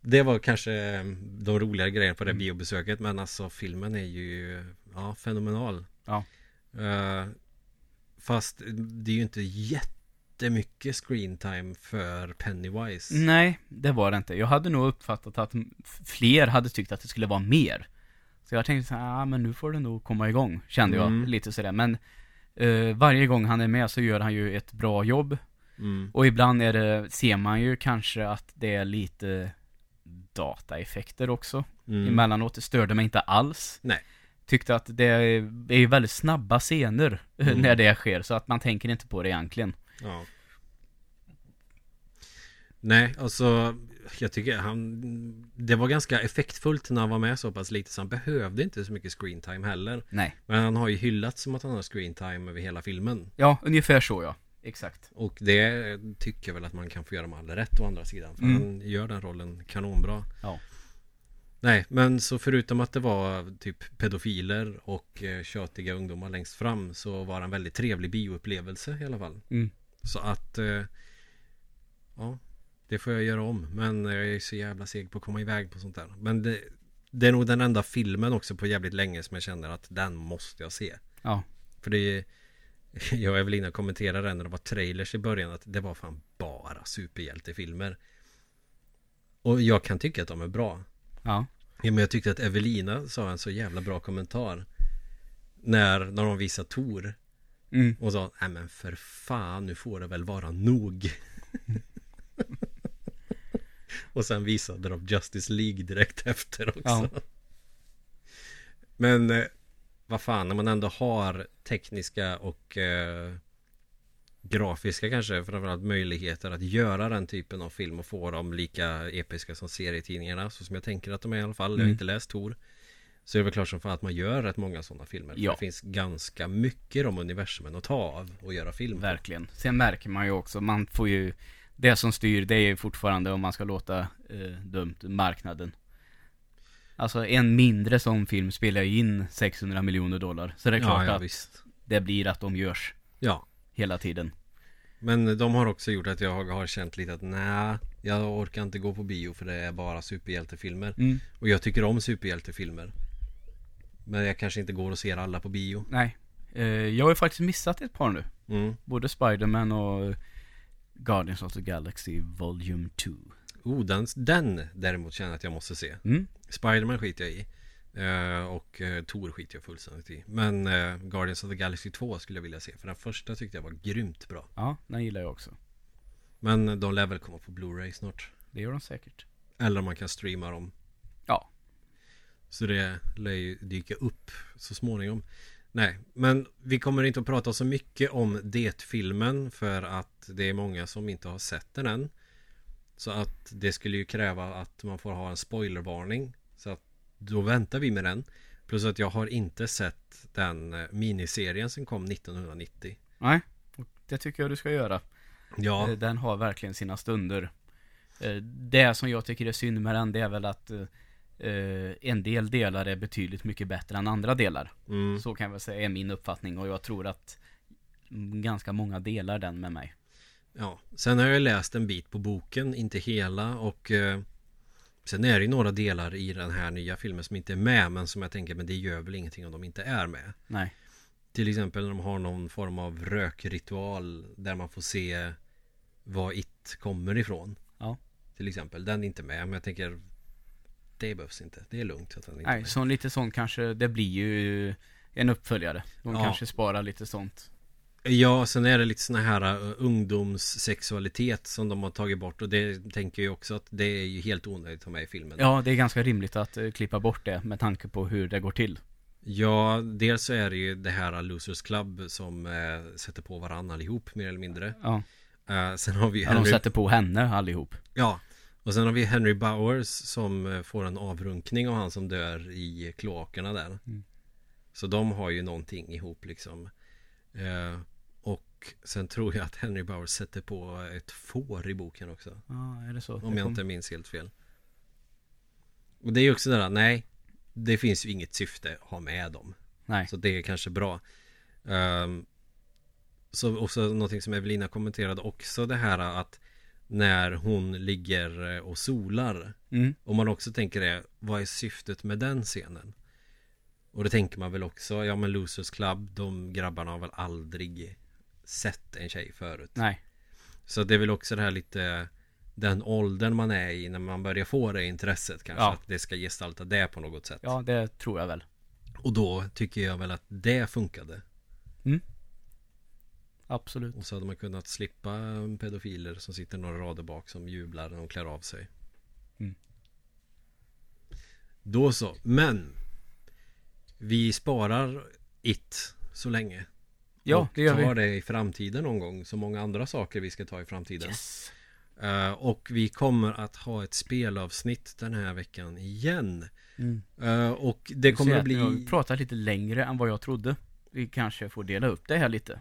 det var kanske eh, de roligare grejerna på det biobesöket Men alltså filmen är ju ja, fenomenal Ja. Eh, Fast det är ju inte jättemycket screen time för Pennywise. Nej, det var det inte. Jag hade nog uppfattat att fler hade tyckt att det skulle vara mer. Så jag tänkte så här, ah, men nu får det nog komma igång, kände Mm. jag lite sådär. Men eh, varje gång han är med så gör han ju ett bra jobb. Mm. Och ibland är det, ser man ju kanske att det är lite dataeffekter också. Mm. Emellanåt, det störde mig inte alls. Nej. Tyckte att det är är ju väldigt snabba scener Mm. när det sker, så att man tänker inte på det egentligen. Ja. Nej, alltså jag tycker han Det var ganska effektfullt när han var med så pass lite så han behövde inte så mycket screen time heller. Nej. Men han har ju hyllats som att han har screen time över hela filmen. Ja, ungefär så ja. Exakt. Och det tycker jag väl att man kan få göra med all rätt å andra sidan. För Mm. han gör den rollen kanonbra. Ja. Nej, men så förutom att det var typ pedofiler och eh, tjötiga ungdomar längst fram så var det en väldigt trevlig bioupplevelse i alla fall. Mm. Så att eh, ja, det får jag göra om. Men jag är ju så jävla seg på att komma iväg på sånt där. Men det, det är nog den enda filmen också på jävligt länge som jag känner att den måste jag se. Ja. För det är jag och Evelina kommenterade det när det var trailers i början att det var fan bara superhjältefilmer. Och jag kan tycka att de är bra. Ja. Ja, men jag tyckte att Evelina sa en så jävla bra kommentar. När, när de visade Tor Mm. och sa, nej men för fan, nu får det väl vara nog. och sen visade de Justice League direkt efter också. Men eh, vad fan, när man ändå har tekniska och eh, grafiska kanske framförallt möjligheter att göra den typen av film och få dem lika episka som serietidningarna. Så som jag tänker att de är i alla fall. Jag har Mm. inte läst Tor. Så är det väl klart som fan att man gör rätt många sådana filmer. För Ja. Det finns ganska mycket om universumen att ta av och göra film. på. Verkligen. Sen märker man ju också, man får ju Det som styr det är ju fortfarande om man ska låta eh, dumt marknaden. Alltså en mindre sån film spelar ju in 600 miljoner dollar. Så det är klart ja, ja, att visst. det blir att de görs Ja, hela tiden. men de har också gjort att jag har känt lite att nej, jag orkar inte gå på bio för det är bara superhjältefilmer. Mm. Och jag tycker om superhjältefilmer. Men jag kanske inte går och ser alla på bio. Nej. Eh, jag har ju faktiskt missat ett par nu. Mm. Både Spider-Man och Guardians of the Galaxy Volume 2. Oh, den, den däremot känner jag att jag måste se. Mm. Spiderman skiter jag i. Eh, och eh, Thor skiter jag fullständigt i. Men eh, Guardians of the Galaxy 2 skulle jag vilja se. För den första tyckte jag var grymt bra. Ja, den gillar jag också. Men de lär väl komma på Blu-ray snart. Det gör de säkert. Eller om man kan streama dem. Ja. Så det lär ju dyka upp så småningom. Nej, men vi kommer inte att prata så mycket om det-filmen för att det är många som inte har sett den än. Så att det skulle ju kräva att man får ha en spoilervarning. Så att då väntar vi med den. Plus att jag har inte sett den eh, miniserien som kom 1990. Nej, och det tycker jag du ska göra. Ja, Eh, Den har verkligen sina stunder. Eh, Det som jag tycker är synd med den, det är väl att eh, eh, en del delar är betydligt mycket bättre än andra delar. mm. Så kan jag väl säga är min uppfattning och jag tror att mm, ganska många delar den med mig. Ja, sen har jag läst en bit på boken, inte hela och eh, sen är det ju några delar i den här nya filmen som inte är med men som jag tänker men det gör väl ingenting om de inte är med. Nej. Till exempel när de har någon form av rökritual där man får se var it kommer ifrån. Ja. Till exempel, den är inte med men jag tänker det behövs inte, det är lugnt att den inte är Nej, med. så lite sånt kanske, det blir ju en uppföljare. De Ja. kanske sparar lite sånt. Ja, sen är det lite såna här eh, ungdomssexualitet som de har tagit bort och det tänker jag också att det är ju helt onödigt att ha med i filmen. Ja, det är ganska rimligt att eh, klippa bort det med tanke på hur det går till. Ja, dels så är det ju det här Losers Club som eh, sätter på varandra allihop mer eller mindre. Ja, Eh, sen har vi ja de Henry, sätter på henne allihop. ja, och sen har vi Henry Bowers som eh, får en avrunkning av han som dör i kloakerna där. Mm. Så de har ju någonting ihop liksom. Eh, och sen tror jag att Henry Bowers sätter på ett får i boken också. Ja, är det så? Om Det jag kom- inte minns helt fel. Och det är ju också det där, nej, det finns ju inget syfte att ha med dem. Nej. Så det är kanske bra. Ehm, så också någonting som Evelina kommenterade också det här att när hon ligger eh, och solar. Mm. Om man också tänker det, vad är syftet med den scenen? Och det tänker man väl också, ja men Losers Club, de grabbarna har väl aldrig sett en tjej förut. Nej. Så det är väl också det här lite den åldern man är i när man börjar få det intresset kanske. Ja. Att det ska gestalta det på något sätt. Ja, det tror jag väl. Och då tycker jag väl att det funkade. Absolut. Och så hade man kunnat slippa pedofiler som sitter några rader bak som jublar när de klär av sig. Mm. Då så, men vi sparar it så länge. Ja, och det gör tar vi. det i framtiden någon gång. Så många andra saker vi ska ta i framtiden. Yes. Eh, och vi kommer att ha ett spelavsnitt den här veckan igen. Mm. Eh, och det kommer att bli... pratat lite längre än vad jag trodde. Vi kanske får dela upp det här lite.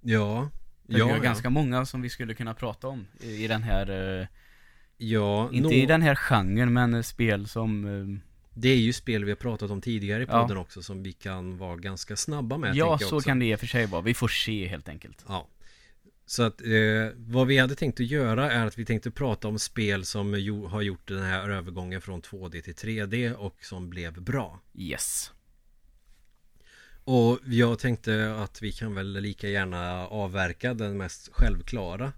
Ja. För vi Ja, har ja. ganska många som vi skulle kunna prata om i i den här, eh, ja inte nå- i den här genren men eh, spel som, eh, Det är ju spel vi har pratat om tidigare i Ja. podden också som vi kan vara ganska snabba med. ja tänker jag så också. kan det i och för sig vara. Vi får se helt enkelt. Ja. Så att eh, vad vi hade tänkt att göra är att vi tänkte prata om spel som jo, har gjort den här övergången från 2D till 3D och som blev bra. Yes. Och jag tänkte att vi kan väl lika gärna avverka den mest självklara.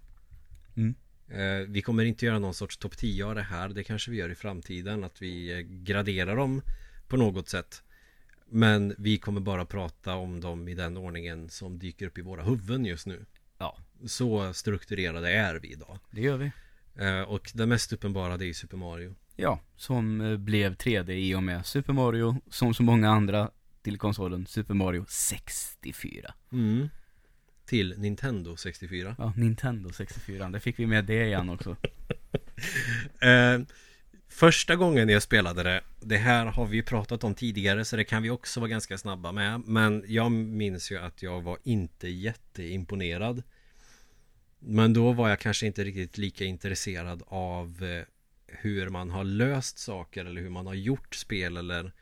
Mm. Eh, vi kommer inte göra någon sorts topp 10 av det här. Det kanske vi gör i framtiden. Att vi eh, graderar dem på något sätt. Men vi kommer bara prata om dem i den ordningen som dyker upp i våra huvuden just nu. Ja, Så strukturerade är vi idag. det gör vi. Eh, och det mest uppenbara det är ju Super Mario. Ja, som eh, blev 3D i och med Super Mario, som så många andra till konsolen, Super Mario 64. Mm. Till Nintendo 64. Ja, Nintendo 64, det fick vi med det igen också. Eh, första gången jag spelade det, det här har vi ju pratat om tidigare så det kan vi också vara ganska snabba med. Men jag minns ju att jag var inte jätteimponerad. Men då var jag kanske inte riktigt lika intresserad av eh, hur man har löst saker eller hur man har gjort spel eller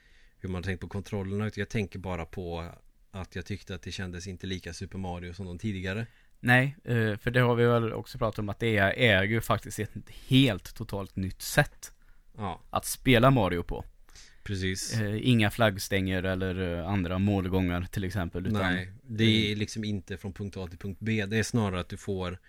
hur man har tänkt på kontrollerna. Utan Jag tänker bara på att jag tyckte att det kändes inte lika Super Mario som de tidigare. Nej, eh, för det har vi väl också pratat om att det är, är ju faktiskt ett helt totalt nytt sätt Ja, att spela Mario på. precis. Eh, inga flaggstänger eller eh, andra målgångar till exempel. Utan, Nej, det är liksom inte från punkt A till punkt B. Det är snarare att du får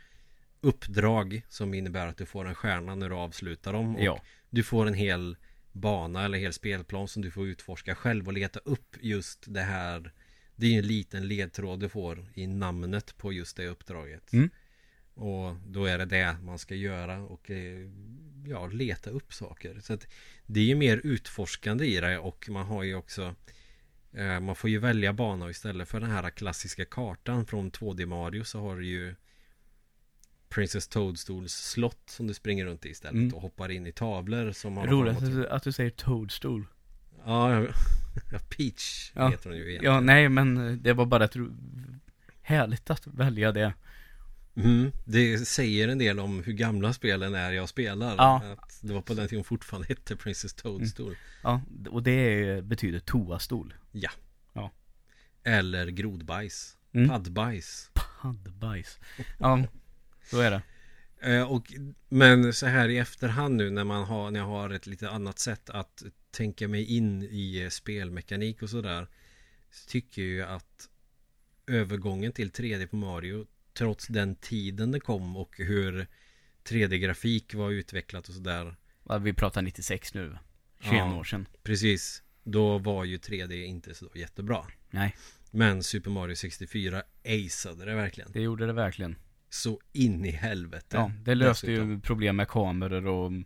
uppdrag som innebär att du får en stjärna när du avslutar dem. Och Ja, Du får en hel bana eller hel spelplan som du får utforska själv och leta upp just det här. Det är ju en liten ledtråd du får i namnet på just det uppdraget. Mm. Och då är det det man ska göra och eh, ja, leta upp saker. Så att det är ju mer utforskande i det och man har ju också eh, man får ju välja bana och istället för den här klassiska kartan från 2D Mario så har du ju Princess Toadstools slott som du springer runt i istället Mm. och hoppar in i tavlor som man har roligt att framåt. du, att du säger Toadstool. Ja, jag- ja, Peach Ja. heter hon ju egentligen. Ja, nej men eh, det var bara ett ro- härligt att välja det. Mm, det säger en del om hur gamla spelen är jag spelar. Ja. Att det var på den tiden hon fortfarande hette Princess Toadstool. Ja, och det eh, betyder toastol. Ja. Ja. Eller grodbajs. Mm. Paddbajs. Handbajs. Ja, så är det. Eh, och, men så här i efterhand nu när man har, när jag har ett lite annat sätt att tänka mig in i eh, spelmekanik och sådär. Så tycker jag ju att övergången till 3D på Mario trots den tiden det kom och hur 3D-grafik var utvecklat och sådär. Ja, Vi pratar 96 nu. 21 Ja. år sedan. Precis, då var ju 3D inte så jättebra. Nej, Men Super Mario 64 aceade det verkligen. det gjorde det verkligen. Så in i helvete. Ja, det löste Dessutom. ju problem med kameror och mm,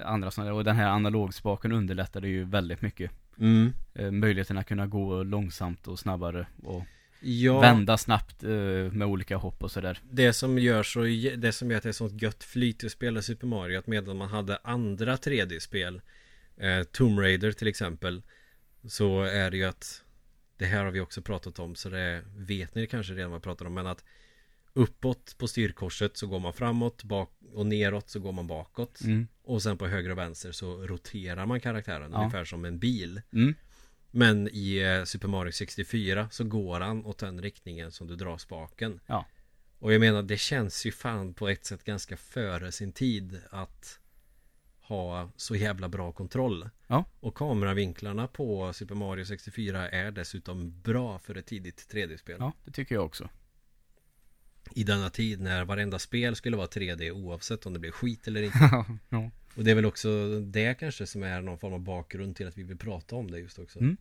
andra sådana Och den här analogspaken underlättade ju väldigt mycket. Mm. Eh, möjligheten att kunna gå långsamt och snabbare och Ja, vända snabbt eh, med olika hopp och sådär. det som gör så, det som gör att det är sånt gött flyt att spela Super Mario, att medan man hade andra 3D-spel, eh, Tomb Raider till exempel, så är det ju att det här har vi också pratat om, så det vet ni kanske redan vad jag pratar om, men att uppåt på styrkorset så går man framåt, bak och neråt så går man bakåt. Mm. Och sen på höger och vänster så roterar man karaktären Ja. ungefär som en bil. Mm. Men i eh, Super Mario 64 så går han åt den riktningen som du drar spaken. Ja. Och jag menar det känns ju fan på ett sätt ganska före sin tid att ha så jävla bra kontroll. Ja. Och kameravinklarna på Super Mario 64 är dessutom bra för ett tidigt 3D-spel. Ja, det tycker jag också. i denna tid när varenda spel skulle vara 3D oavsett om det blev skit eller inte. ja. Och det är väl också det kanske som är någon form av bakgrund till att vi vill prata om det just också. Mm.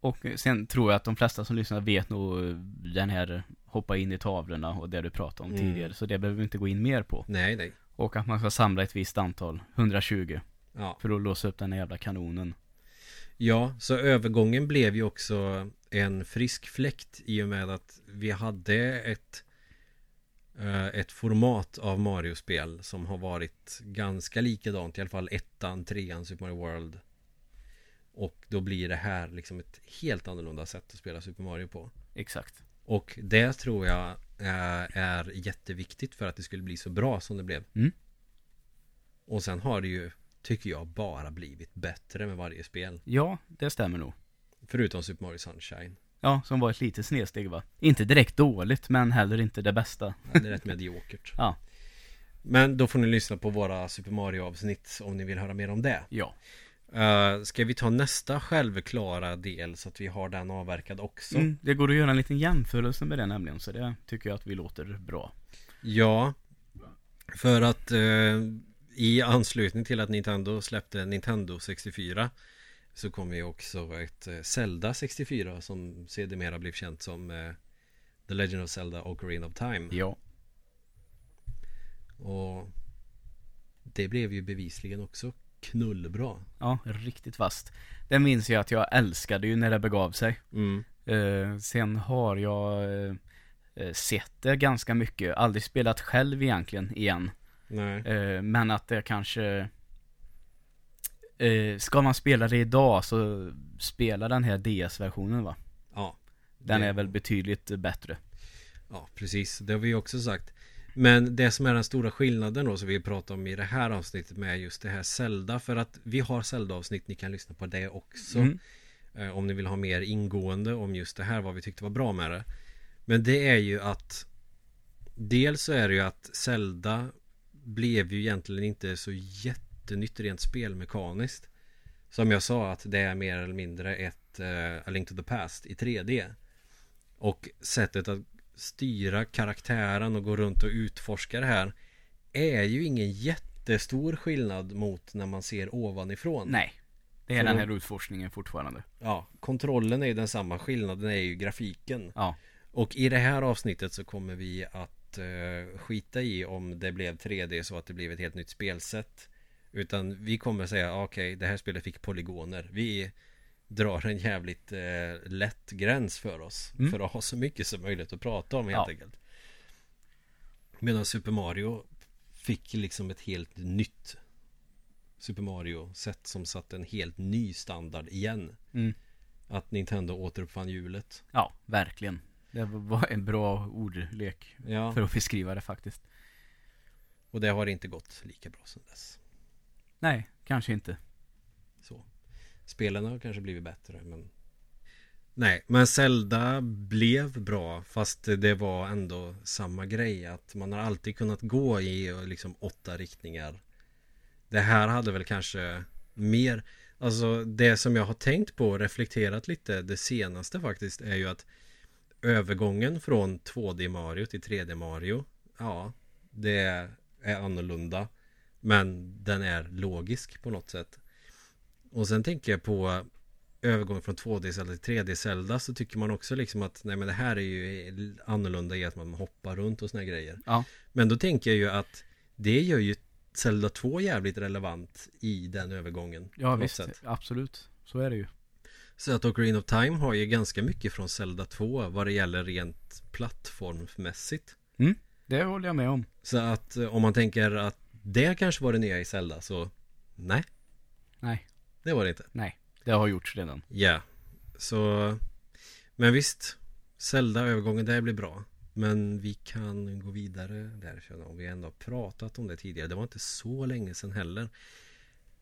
Och eh, sen tror jag att de flesta som lyssnar vet nog eh, den här hoppa in i tavlorna och det du pratade om Mm. tidigare. Så det behöver vi inte gå in mer på. Nej, nej. Och att man ska samla ett visst antal, 120, Ja. för att låsa upp den här jävla kanonen. ja, så övergången blev ju också en frisk fläkt i och med att vi hade ett eh, ett format av Mario-spel som har varit ganska likadant i alla fall ettan, trean, Super Mario World och då blir det här liksom ett helt annorlunda sätt att spela Super Mario på. Exakt. Och det tror jag eh, är jätteviktigt för att det skulle bli så bra som det blev. Mm. Och sen har det ju, tycker jag, bara blivit bättre med varje spel. Ja, det stämmer nog. Förutom Super Mario Sunshine. Ja, som var ett litet snedsteg va? Inte direkt dåligt, men heller inte det bästa. Ja, Det är rätt mediokert. Ja. Men då får ni lyssna på våra Super Mario-avsnitt om ni vill höra mer om det. Ja. Eh, ska vi ta nästa självklara del så att vi har den avverkad också? Mm, det går att göra en liten jämförelse med det nämligen, så det tycker jag att vi låter bra. Ja, för att eh, i anslutning till att Nintendo släppte Nintendo 64 så kom ju också ett eh, Zelda 64 som sedermera blev känt som eh, The Legend of Zelda Ocarina of Time. Ja. Och det blev ju bevisligen också knullbra. Ja, riktigt fast. Det minns jag att jag älskade ju när det begav sig. Mm. Eh, sen har jag eh, eh, sett det ganska mycket, aldrig spelat själv egentligen igen. Nej. Eh, men att det kanske... Eh, ska man spela det idag så spela den här DS-versionen va? Ja. Den Det- är väl betydligt bättre. Ja, precis. Det har vi ju också sagt. Men det som är den stora skillnaden då som vi pratar om i det här avsnittet med just det här Zelda. För att vi har Zelda-avsnitt, ni kan lyssna på det också. Mm. Eh, Om ni vill ha mer ingående om just det här, vad vi tyckte var bra med det. Men det är ju att Dels så är det ju att Zelda blev ju egentligen inte så jättenytt rent spelmekaniskt. Som jag sa att det är mer eller mindre ett eh, A Link to the Past i 3D. Och sättet att styra karaktären och gå runt och utforska det här är ju ingen jättestor skillnad mot när man ser ovanifrån. Nej. Det är Så den då- här utforskningen fortfarande. Ja, kontrollen är ju densamma. Skillnaden är ju grafiken. Ja. Och i det här avsnittet så kommer vi att eh, skita i om det blev 3D så att det blev ett helt nytt spelsätt. Utan vi kommer säga "Ah, okej, det här spelet fick polygoner. Vi drar en jävligt eh, lätt gräns för oss. Mm. För att ha så mycket som möjligt att prata om helt Ja. enkelt. Medan Super Mario fick liksom ett helt nytt Super Mario-sätt som satte en helt ny standard igen. Mm. Att Nintendo återuppfann hjulet. Ja, verkligen. Det var en bra ordlek Ja. för att beskriva det faktiskt. Och det har inte gått lika bra sedan dess. Nej, kanske inte. Så. Spelen har kanske blivit bättre men... Nej, men Zelda blev bra fast det var ändå samma grej att man har alltid kunnat gå i eh, liksom åtta riktningar. Det här hade väl kanske mer, alltså det som jag har tänkt på och reflekterat lite det senaste faktiskt är ju att övergången från 2D Mario till 3D Mario, ja, det är annorlunda. Men den är logisk på något sätt. Och sen tänker jag på övergången från 2D Zelda till 3D Zelda så tycker man också liksom att nej men det här är ju annorlunda i att man hoppar runt och såna här grejer. Ja. Men då tänker jag ju att det gör ju Zelda 2 jävligt relevant i den övergången. på Ja, något visst. sätt. Absolut. Så är det ju. Så att Ocarina of Time har ju ganska mycket från Zelda 2 vad det gäller rent plattformsmässigt. Mm. Det håller jag med om. Så att eh, om man tänker att det kanske var det nya i Zelda så nej, Nej, det var det inte. nej. Det har gjorts redan. Ja, så Men visst Zelda-övergången där blir bra Men vi kan gå vidare där känner jag, om vi ändå har pratat om det tidigare Det var inte så länge sedan heller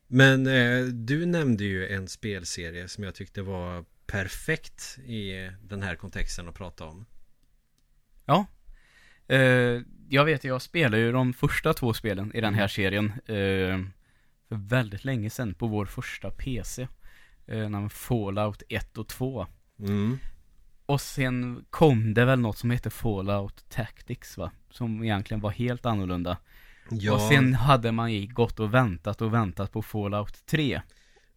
Men eh, du nämnde ju en spelserie som jag tyckte var perfekt i den här kontexten att prata om Ja. Eh, jag vet, jag spelade ju de första två spelen i den här serien. Eh, för väldigt länge sedan på vår första PC. Eh, när man Fallout 1 och 2. mm. Och sen kom det väl något som hette Fallout Tactics va? Som egentligen var helt annorlunda. Ja, Och sen hade man ju gått och väntat och väntat på Fallout 3.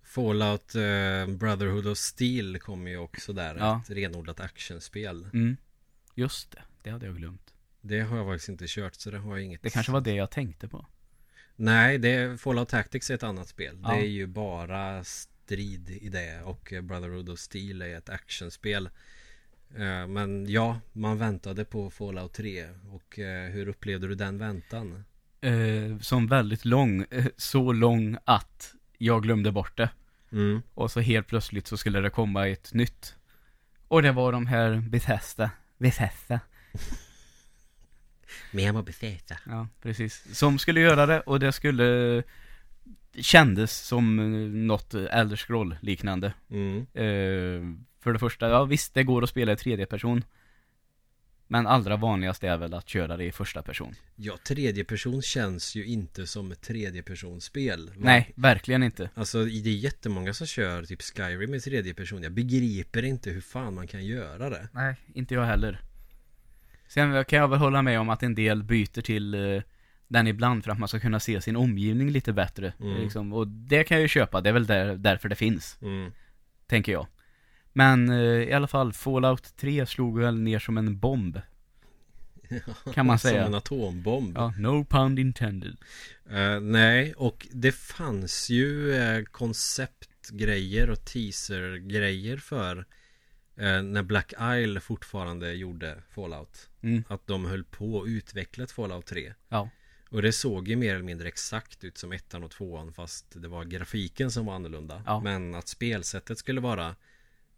Fallout eh, Brotherhood of Steel kom ju också där. Ja. Ett renodlat actionspel. Mm. Just det, det hade jag glömt. Det har jag faktiskt inte kört så det har jag inget. Det kanske var det jag tänkte på. Nej, det är Fallout Tactics är ett annat spel. Ja. Det är ju bara strid i det och eh, Brotherhood of Steel är ett actionspel. Eh, Men ja, man väntade på Fallout 3 och eh, hur upplevde du den väntan? Eh, som väldigt lång, eh, så lång att jag glömde bort det. Mm. Och så helt plötsligt så skulle det komma ett nytt. Och det var de här Bethesda. Bethesda. Memo Bethesda. Ja, precis. Som skulle göra det och det skulle kändes som eh, något Elder scroll liknande Mm. Eh, för det första, ja visst det går att spela i tredje person. Men allra vanligast är väl att köra det i första person. Ja, tredje person känns ju inte som ett tredje personspel. Nej, verkligen inte. Alltså det är jättemånga som kör typ Skyrim i tredje person. Jag begriper inte hur fan man kan göra det. Nej. Inte jag heller. Sen kan jag väl hålla med om att en del byter till eh, den ibland för att man ska kunna se sin omgivning lite bättre. Mm. Liksom. Och det kan jag ju köpa, det är väl där, därför det finns, Mm. tänker jag. Men eh, i alla fall, Fallout 3 slog väl ner som en bomb. Kan man säga. Som en atombomb. Ja, no pun intended. Eh, nej, och det fanns ju eh, konceptgrejer och teasergrejer för eh, när Black Isle fortfarande gjorde Fallout. Mm. Att de höll på att utveckla ett Fallout 3. Ja. Och det såg ju mer eller mindre exakt ut som ettan och tvåan fast det var grafiken som var annorlunda. Ja. Men att spelsättet skulle vara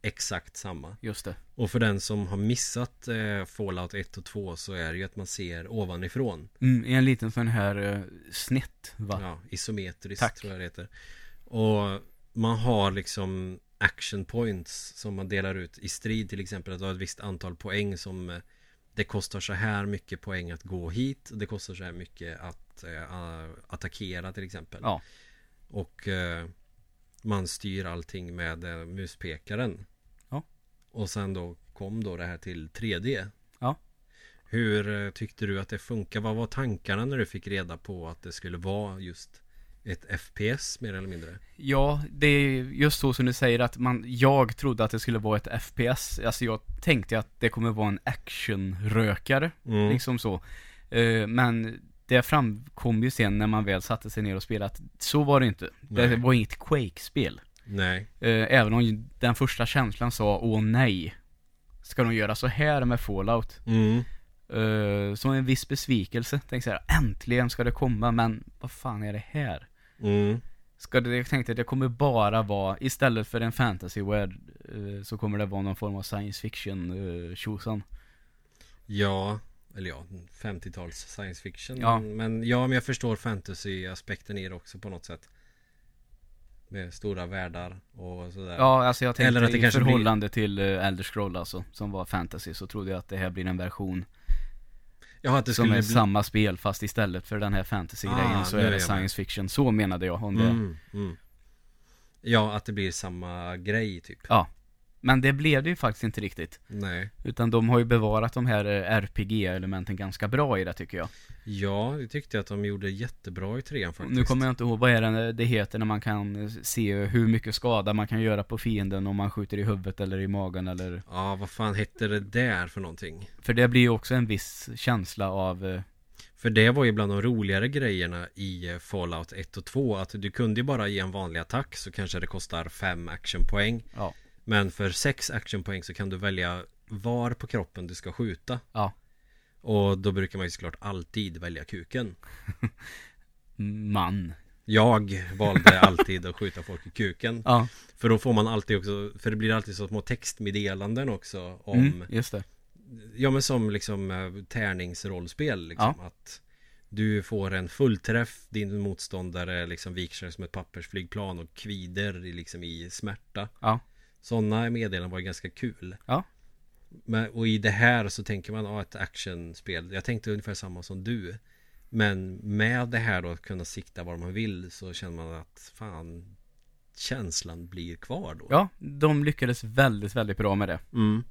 exakt samma. Just det. Och för den som har missat eh, Fallout 1 och 2 så är det ju att man ser ovanifrån. Mm, i en liten sån här eh, snett, va? Ja, isometriskt Tack. tror jag det heter. Och man har liksom action points som man delar ut i strid till exempel. Att du har ett visst antal poäng som eh, det kostar så här mycket poäng att gå hit. Det kostar så här mycket att eh, a- attackera till exempel. Ja. Och eh, man styr allting med eh, muspekaren. Ja. Och sen då kom då det här till 3D. Ja. Hur eh, tyckte du att det funkar? Vad var tankarna när du fick reda på att det skulle vara just ett FPS mer eller mindre? Ja, det är just så som du säger att man, jag trodde att det skulle vara ett FPS. Alltså jag tänkte att det kommer vara en actionrökare, Mm. liksom så. Eh, men det framkom ju sen när man väl satte sig ner och spelade att så var det inte. Det Nej. var inget Quake-spel. Nej. Eh, även om ju den första känslan sa åh nej, ska de göra så här med Fallout? Mm. Eh, som en viss besvikelse. Tänkte så här, äntligen ska det komma, men vad fan är det här? Mm. Ska det, jag tänkte det kommer bara vara, istället för en fantasy world eh, så kommer det vara någon form av science fiction eh, tjosan. Ja. Eller ja, 50-tals science fiction. Ja. Men, men ja, men jag förstår fantasy-aspekten i det också på något sätt. Med stora världar och sådär. Ja, alltså jag tänkte Eller att det i kanske blir- förhållande till eh, Elder Scroll alltså, som var fantasy, så trodde jag att det här blir en version ja att det som är skulle bli... samma spel fast istället för den här fantasy-grejen Ah, så nu är är det jag med. science fiction. Så menade jag om det. Mm. Mm. Ja, att det blir samma grej typ. Ja. Men det blev det ju faktiskt inte riktigt. Nej. Utan de har ju bevarat de här eh, RPG-elementen ganska bra i det tycker jag. Ja, det tyckte jag att de gjorde jättebra i trean faktiskt. Nu kommer jag inte ihåg, vad är det det heter när man kan eh, se hur mycket skada man kan göra på fienden om man skjuter i huvudet eller i magen eller Ja, vad fan hette det där för någonting? För det blir ju också en viss känsla av eh, För det var ju bland de roligare grejerna i eh, Fallout 1 och 2 att du kunde ju bara ge en vanlig attack så kanske det kostar 5 actionpoäng. Ja. Men för 6 actionpoäng så kan du välja var på kroppen du ska skjuta. Ja. Och då brukar man ju såklart alltid välja kuken. man Jag valde alltid att skjuta folk i kuken. Ja, För då får man alltid också, för det blir alltid så små textmeddelanden också om mm, just det Ja men som liksom eh, tärningsrollspel liksom att Du får en fullträff Din motståndare liksom viker sig som ett pappersflygplan och kvider i- liksom i smärta Ja. Sådana meddelanden var ju ganska kul Ja. men, Och i det här så tänker man, ja ett actionspel Jag tänkte ungefär samma som du Men med det här då att kunna sikta var man vill så känner man att fan Känslan blir kvar då Ja, de lyckades väldigt, väldigt bra med det mm.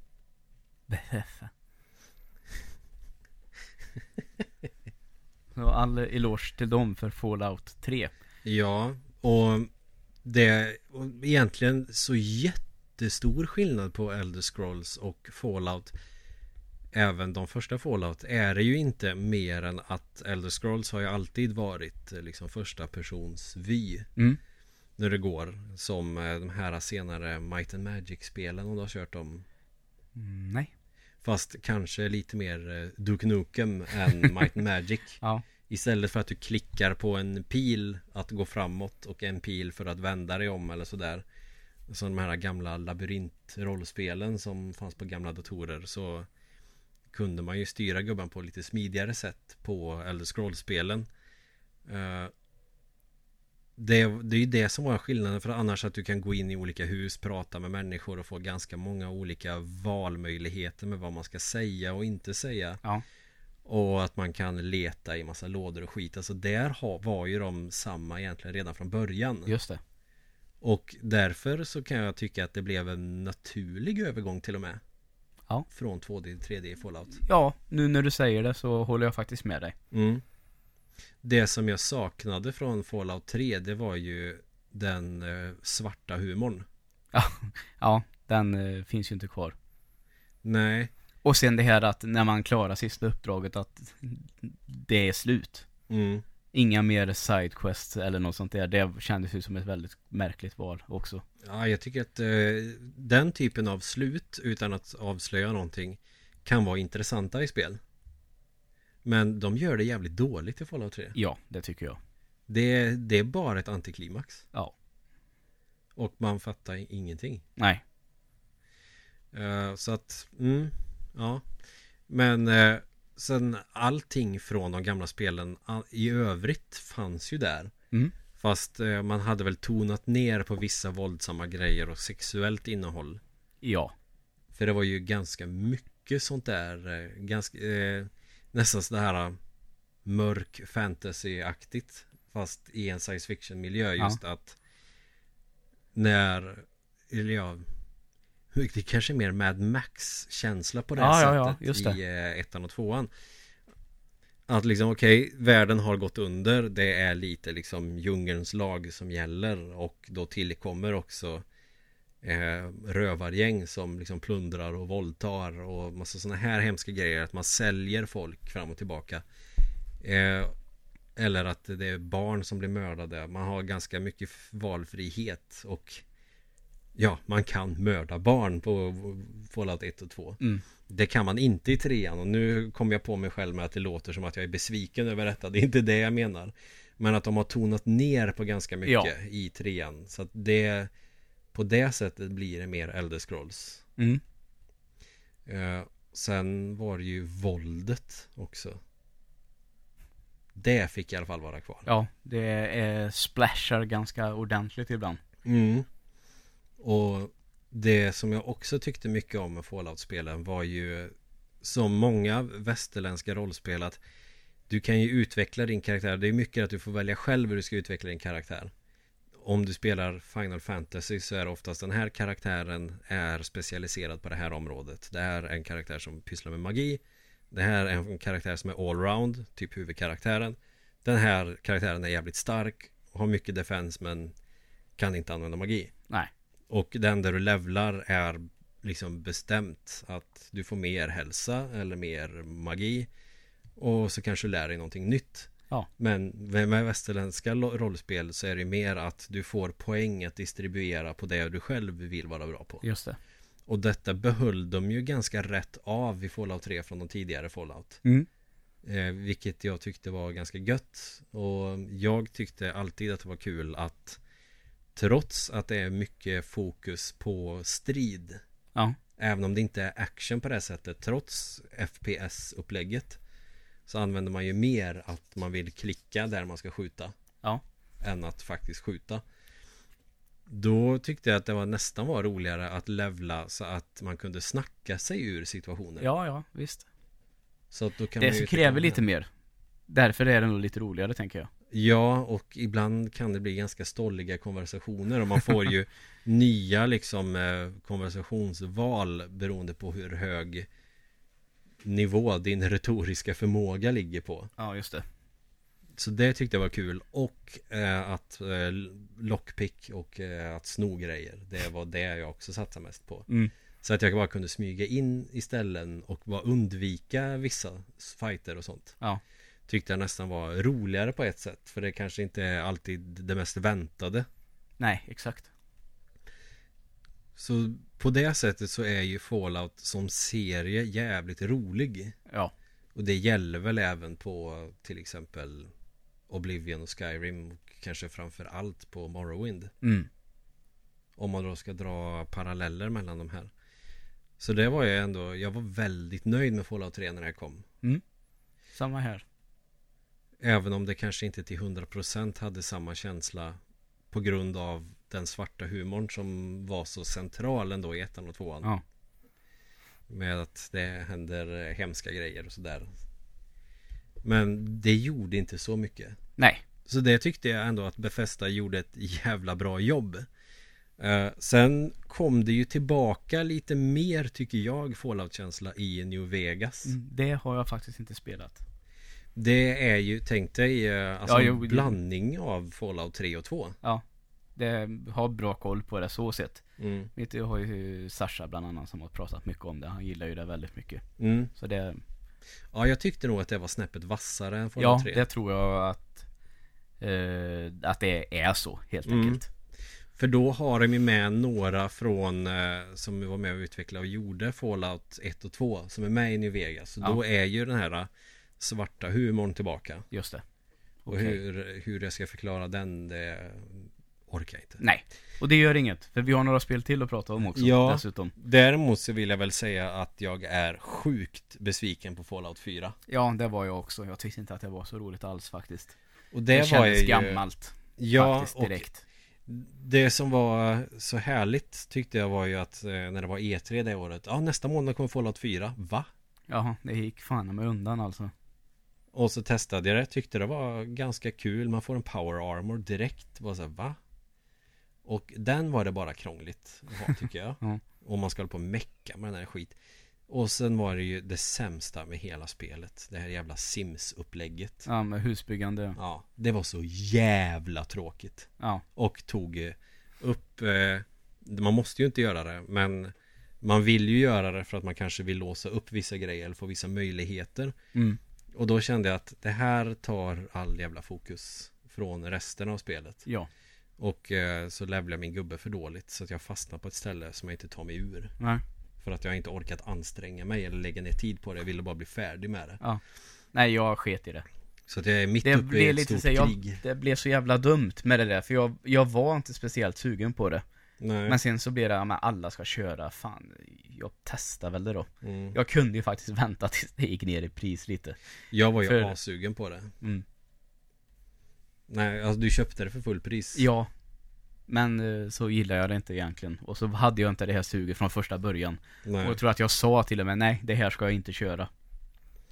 Behöva. Så all eloge till dem för Fallout 3. Ja, och det är egentligen så jättestor skillnad på Elder Scrolls och Fallout. Även de första Fallout är det ju inte mer än att Elder Scrolls har ju alltid varit eh, liksom första persons vy Mm. när det går. Som eh, de här senare Might and Magic-spelen om du har kört dem. Mm, Nej. Fast kanske lite mer eh, Duke Nukem än Might and Magic. Ja. Istället för att du klickar på en pil att gå framåt och en pil för att vända dig om eller sådär. Som de här gamla labyrintrollspelen som fanns på gamla datorer så kunde man ju styra gubben på lite smidigare sätt på Elder Scrolls-spelen. Eh, Det, det är ju det som var skillnaden för annars att du kan gå in i olika hus, prata med människor och få ganska många olika valmöjligheter med vad man ska säga och inte säga. Ja. Och att man kan leta i massa lådor och skit. Alltså där ha- var ju de samma egentligen redan från början. Just det. Och därför så kan jag tycka att det blev en naturlig övergång till och med. Ja. Från 2D till 3D i Fallout. Ja, nu när du säger det så håller jag faktiskt med dig. Mm. Det som jag saknade från Fallout 3 det var ju den eh, svarta humorn. Ja, den eh, finns ju inte kvar. Nej, Och sen det här att när man klarar sista uppdraget att det är slut. mm. Inga mer sidequests eller något sånt där. Det kändes ju som ett väldigt märkligt val också. ja, jag tycker att eh, den typen av slut utan att avslöja någonting kan vara intressanta i spel. Men de gör det jävligt dåligt i Fallout 3. Ja, det tycker jag. Det, det är bara ett antiklimax. Ja. Och man fattar ingenting. Nej. Eh, så att, mm, ja. Men eh, sen allting från de gamla spelen all, i övrigt fanns ju där. Mm. Fast eh, man hade väl tonat ner på vissa våldsamma grejer och sexuellt innehåll. Ja. För det var ju ganska mycket sånt där, eh, ganska, eh, nästan sådär eh, mörk fantasy-aktigt. Fast i en science fiction-miljö Ja. just att när, eller ja, det kanske är mer Mad Max-känsla på det här Ja, ja, ja, sättet just det. i eh, ettan och tvåan. Att liksom okej, världen har gått under, det är lite liksom djungelns lag som gäller och då tillkommer också eh, rövargäng som liksom plundrar och våldtar och massa sådana här hemska grejer. Att man säljer folk fram och tillbaka. Eh, eller att det är barn som blir mördade. Man har ganska mycket f- valfrihet och ja, man kan mörda barn på Fallout 1 och 2. Mm. Det kan man inte i trean och nu kom jag på mig själv med att det låter som att jag är besviken över detta. Det är inte det jag menar. Men att de har tonat ner på ganska mycket Ja. i trean. Så att det på det sättet blir det mer Elder Scrolls. Mm. Eh, sen var det ju våldet också. Det fick i alla fall vara kvar. Ja, det eh, splashar ganska ordentligt ibland. Mm. Och det som jag också tyckte mycket om med Fallout-spelen var ju som många västerländska rollspel att du kan ju utveckla din karaktär. Det är mycket att du får välja själv hur du ska utveckla din karaktär. Om du spelar Final Fantasy så är det oftast den här karaktären är specialiserad på det här området. Det här är en karaktär som pysslar med magi. Det här är en karaktär som är allround, typ huvudkaraktären. Den här karaktären är jävligt stark, har mycket defense men kan inte använda magi. Nej. Och den där du levlar är liksom bestämt att du får mer hälsa eller mer magi. Och så kanske du lär dig någonting nytt. Ja. Men med västerländska lo- rollspel så är det mer att du får poäng att distribuera på det du själv vill vara bra på. Just det. Och detta behöll de ju ganska rätt av i Fallout 3 från de tidigare Fallout. Mm. Eh, vilket jag tyckte var ganska gött. Och jag tyckte alltid att det var kul att trots att det är mycket fokus på strid, Ja. även om det inte är action på det här sättet, trots FPS-upplägget, så använder man ju mer att man vill klicka där man ska skjuta Ja. än att faktiskt skjuta. Då tyckte jag att det var nästan var roligare att levla så att man kunde snacka sig ur situationer. Ja, ja, visst. Så att då kan Det man ju som tycka om kräver det. lite mer. Därför är det nog lite roligare, tänker jag. Ja, och ibland kan det bli ganska stolliga konversationer och man får ju nya liksom eh, konversationsval beroende på hur hög nivå din retoriska förmåga ligger på. Ja, just det. Så det tyckte jag var kul. Och eh, att eh, lockpick och eh, att sno grejer. Det var det jag också satsade mest på. Mm. Så att jag bara kunde smyga in i ställen och bara undvika vissa fighter och sånt. Ja. Tyckte jag nästan var roligare på ett sätt. För det kanske inte är alltid det mest väntade. Nej, exakt. Så på det sättet så är ju Fallout som serie jävligt rolig. Ja, Och det gäller väl även på till exempel Oblivion och Skyrim och kanske framför allt på Morrowind. mm. Om man då ska dra paralleller mellan de här. Så det var jag ändå, jag var väldigt nöjd med Fallout 3 när det kom. samma här. Även om det kanske inte till 100% hade samma känsla på grund av den svarta humorn som var så central ändå i ettan och tvåan. Ja. Med att det händer eh, hemska grejer och sådär. Men det gjorde inte så mycket. Nej, Så det tyckte jag ändå att Bethesda gjorde ett jävla bra jobb. Eh, sen kom det ju tillbaka lite mer tycker jag Fallout-känsla i New Vegas. mm, det har jag faktiskt inte spelat. Det är ju, tänk dig, eh, alltså Ja, jo, en det- blandning av Fallout 3 och 2. Det har bra koll på det så sett. Vet du, jag har ju Sasha bland annat som har pratat mycket om det. Han gillar ju det väldigt mycket. Mm. Så det, Ja, jag tyckte nog att det var snäppet vassare än ja, Fallout 3. det tror jag att, eh, att det är så helt Mm. enkelt. För då har de ju med några från eh, som var med och utvecklade och gjorde Fallout 1 och 2 som är med i New Vegas. Så Ja. då är ju den här eh, svarta humorn tillbaka. Just det. Och Okej. hur, hur jag ska förklara den, det orkar jag inte. Nej, och det gör inget. För vi har några spel till att prata om också. Ja. Dessutom. Däremot så vill jag väl säga att jag är sjukt besviken på Fallout 4. Ja, det var jag också. Jag tyckte inte att det var så roligt alls faktiskt. Och Det, det, var jag kändes ju... gammalt Ja, faktiskt och direkt. det som var så härligt tyckte jag var ju att eh, när det var E3 det året, ja nästa månad kommer Fallout 4, va? Jaha, det gick fan med undan alltså. Och så testade jag det, tyckte det var ganska kul, man får en power armor direkt, var så här, va? Och den var det bara krångligt att ha, tycker jag. Ja. Och man ska hålla på och mecka med den här skit. Och sen var det ju det sämsta med hela spelet, det här jävla Sims-upplägget. Ja. Ja, med husbyggande. det var så jävla tråkigt. Ja, Och tog eh, upp, eh, man måste ju inte göra det, men man vill ju göra det för att man kanske vill låsa upp vissa grejer eller få vissa möjligheter. mm. Och då kände jag att det här tar all jävla fokus från resten av spelet. ja, Och eh, så levlade jag min gubbe för dåligt så att jag fastnade på ett ställe som jag inte tar mig ur. nej. För att jag inte orkat anstränga mig eller lägga ner tid på det. Jag ville bara bli färdig med det. Nej, jag sket i det. Så att jag Typ är mitt Det uppe i blev ett lite stort så, här, jag, krig. det blev så jävla dumt med det där. För jag, jag var inte speciellt sugen på det. Nej. Men sen så blev det, ja, men alla ska köra. Fan, jag testar väl det då. Mm. Jag kunde ju faktiskt vänta tills det gick ner i pris lite. Jag var ju för- assugen på det. Mm. Nej, alltså du köpte det för fullpris. Ja. Men eh, så gillar jag det inte egentligen. Och så hade jag inte det här suget från första början. Nej. Och jag tror att jag sa till och med, nej det här ska jag inte köra.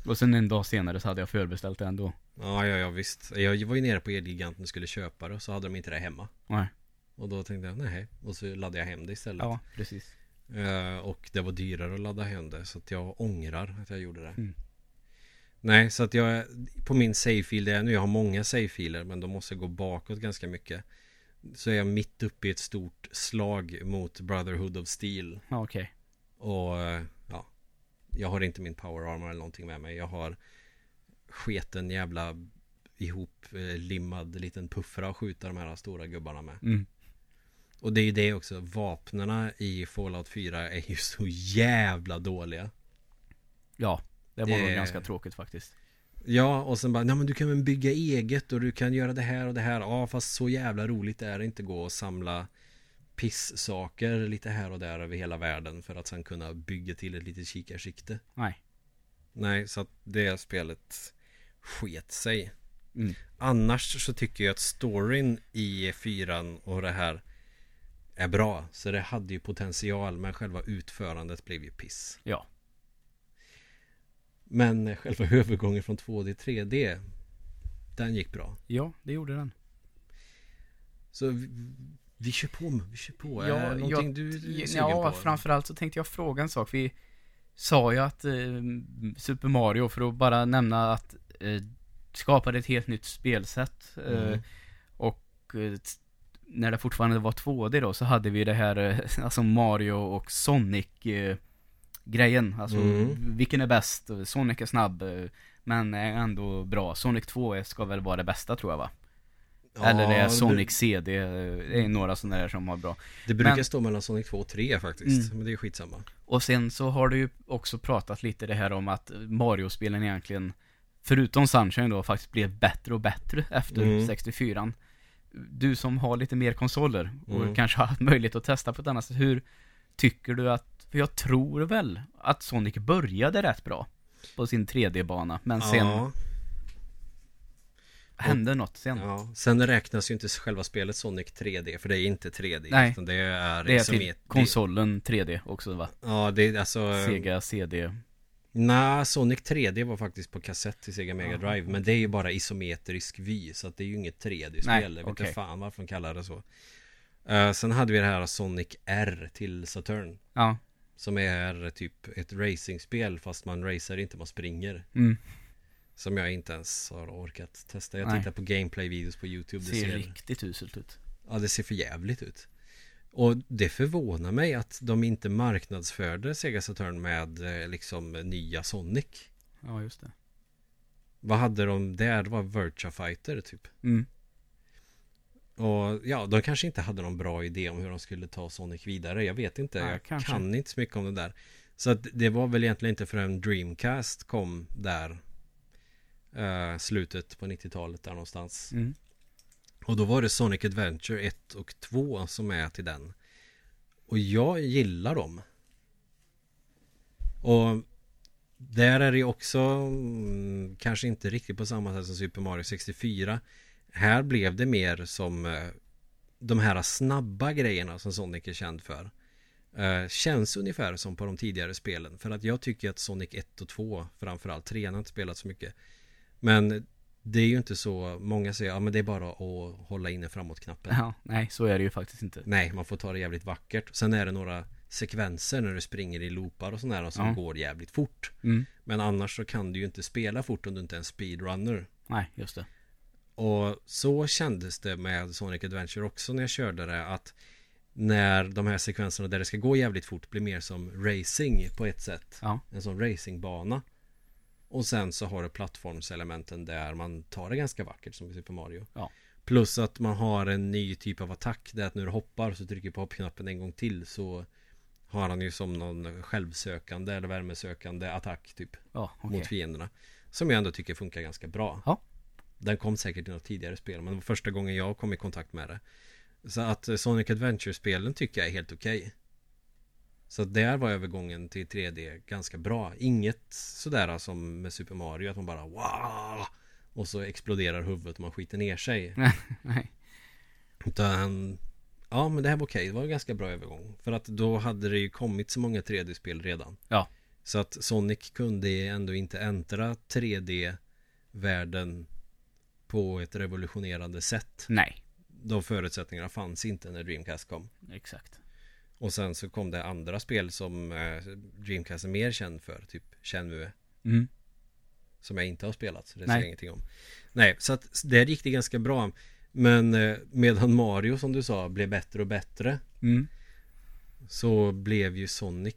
Och sen en dag senare så hade jag förbeställt det ändå. Ja, ja, ja, visst. Jag var ju nere på Elgiganten och skulle köpa det och så hade de inte det hemma. Nej. Och då tänkte jag, nej. Och så laddade jag hem det istället. Ja, precis. Eh, Och det var dyrare att ladda hem det så att jag ångrar att jag gjorde det. Mm. Nej, så att jag på min save-fil, där jag är nu, jag har många save-filer men de måste gå bakåt ganska mycket. Så är jag mitt uppe i ett stort slag mot Brotherhood of Steel. Ja, okej. Och eh, ja, jag har inte min power armor eller någonting med mig. Jag har sketen jävla ihop eh, limmad liten puffra att skjuta de här stora gubbarna med. Mm. Och det är ju det också, vapnena i Fallout 4 är ju så jävla dåliga. Ja, det var Det- nog ganska tråkigt faktiskt. Ja, och sen bara, nej men du kan väl bygga eget och du kan göra det här och det här. Ja, fast så jävla roligt är det inte gå och samla pissaker lite här och där över hela världen för att sen kunna bygga till ett litet kikarsikte. Nej. Nej, så att det spelet sket sig. Mm. Annars så tycker jag att storyn i fyran och det här är bra. Så det hade ju potential, men själva utförandet blev ju piss. Ja. Men själva övergången från 2D till 3D, den gick bra. Ja, det gjorde den. Så vi, vi kör på, vi kör på. Ja, är det någonting jag- du är sugen Ja, på? framförallt så tänkte jag fråga en sak. Vi sa jag att eh, Super Mario, för att bara nämna att eh, skapade ett helt nytt spelsätt. Eh, Mm. och eh, t- när det fortfarande var 2D då så hade vi det här, eh, alltså Mario och Sonic eh, grejen. Alltså Mm. vilken är bäst? Sonic är snabb. Eh, men är ändå bra. Sonic 2 är- ska väl vara det bästa tror jag va? Eller det Ja, är bru- Sonic CD. eh, Det är några sådana där som var bra. Det brukar men- stå mellan Sonic 2 och 3 faktiskt. Mm. Men det är skitsamma. Och sen så har du ju också pratat lite det här om att Mario-spelen egentligen, förutom Sunshine då, faktiskt blev bättre och bättre efter Mm. 64 Du som har lite mer konsoler och Mm. kanske har haft möjlighet att testa på ett annat sätt, hur tycker du att, för jag tror väl att Sonic började rätt bra på sin 3D-bana, men sen Ja, hände något sen. ja. Sen räknas ju inte själva spelet Sonic 3D, för det är inte 3D. Nej. utan det är, Det är liksom till ett- det- konsolen 3D också va? Ja, det är alltså... eh, Sega CD. Nej, Sonic 3D var faktiskt på kassett till Sega Mega Ja. Drive Men det är ju bara isometrisk vy Så att det är ju inget 3D-spel Nej, Jag vet inte okej. fan varför de kallar det så Eh, Sen hade vi det här Sonic R till Saturn Ja. Som är typ ett racingspel Fast man racer inte, man springer Mm. Som jag inte ens har orkat testa Jag Nej. tittar på gameplay-videos på YouTube Ser, riktigt uselt ut. Ja, det ser för jävligt ut. Och det förvånar mig att de inte marknadsförde Sega Saturn med eh, liksom nya Sonic. Ja, just det. Vad hade de där? Det var Virtua Fighter typ. Mm. Och ja, de kanske inte hade någon bra idé om hur de skulle ta Sonic vidare. Jag vet inte. Nej, jag kanske. kan inte så mycket om det där. Så att det var väl egentligen inte förrän Dreamcast kom där. Eh, slutet på 90-talet där någonstans. Mm. Och då var det Sonic Adventure 1 och 2 som är till den. Och jag gillar dem. Och där är det ju också mm, kanske inte riktigt på samma sätt som Super Mario 64. Här blev det mer som eh, de här snabba grejerna som Sonic är känd för. Eh, känns ungefär som på de tidigare spelen. För att jag tycker att Sonic 1 och 2 framförallt, 3 har jag inte spelat så mycket. Men det är ju inte så, många säger ja men det är bara att hålla inne framåt-knappen. Ja, nej, så är det ju faktiskt inte. Nej, man får ta det jävligt vackert. Sen är det några sekvenser när du springer i loopar och sådär som Ja. går jävligt fort. Mm. Men annars så kan du ju inte spela fort om du inte är en speedrunner. Nej, just det. Och så kändes det med Sonic Adventure också när jag körde det att när de här sekvenserna där det ska gå jävligt fort blir mer som racing på ett sätt. Ja. En sån racingbana. Och sen så har du plattformselementen där man tar det ganska vackert som i Super Mario. Ja. Plus att man har en ny typ av attack där att när du hoppar så trycker du på hoppknappen en gång till så har han ju som någon självsökande eller värmesökande attack typ Ja, okej. mot fienderna. Som jag ändå tycker funkar ganska bra. Ja. Den kom säkert i något tidigare spel men det var första gången jag kom i kontakt med det. Så att eh, Sonic Adventure-spelen tycker jag är helt okej. Så att där var övergången till 3D ganska bra. Inget sådär som med Super Mario att man bara wow! Och så exploderar huvudet och man skiter ner sig. Nej. Utan Ja men det här var okej, det var en ganska bra övergång För att då hade det ju kommit så många 3D-spel redan Ja. Så att Sonic kunde ändå inte äntra 3D-världen På ett revolutionerande sätt Nej, De förutsättningarna fanns inte när Dreamcast kom exakt. Och sen så kom det andra spel som eh, Dreamcast är mer känd för Typ Shenmue Mm. Som jag inte har spelat, så det Nej. säger jag ingenting om Nej, så att s- där gick det ganska bra Men eh, medan Mario som du sa blev bättre och bättre Mm. Så blev ju Sonic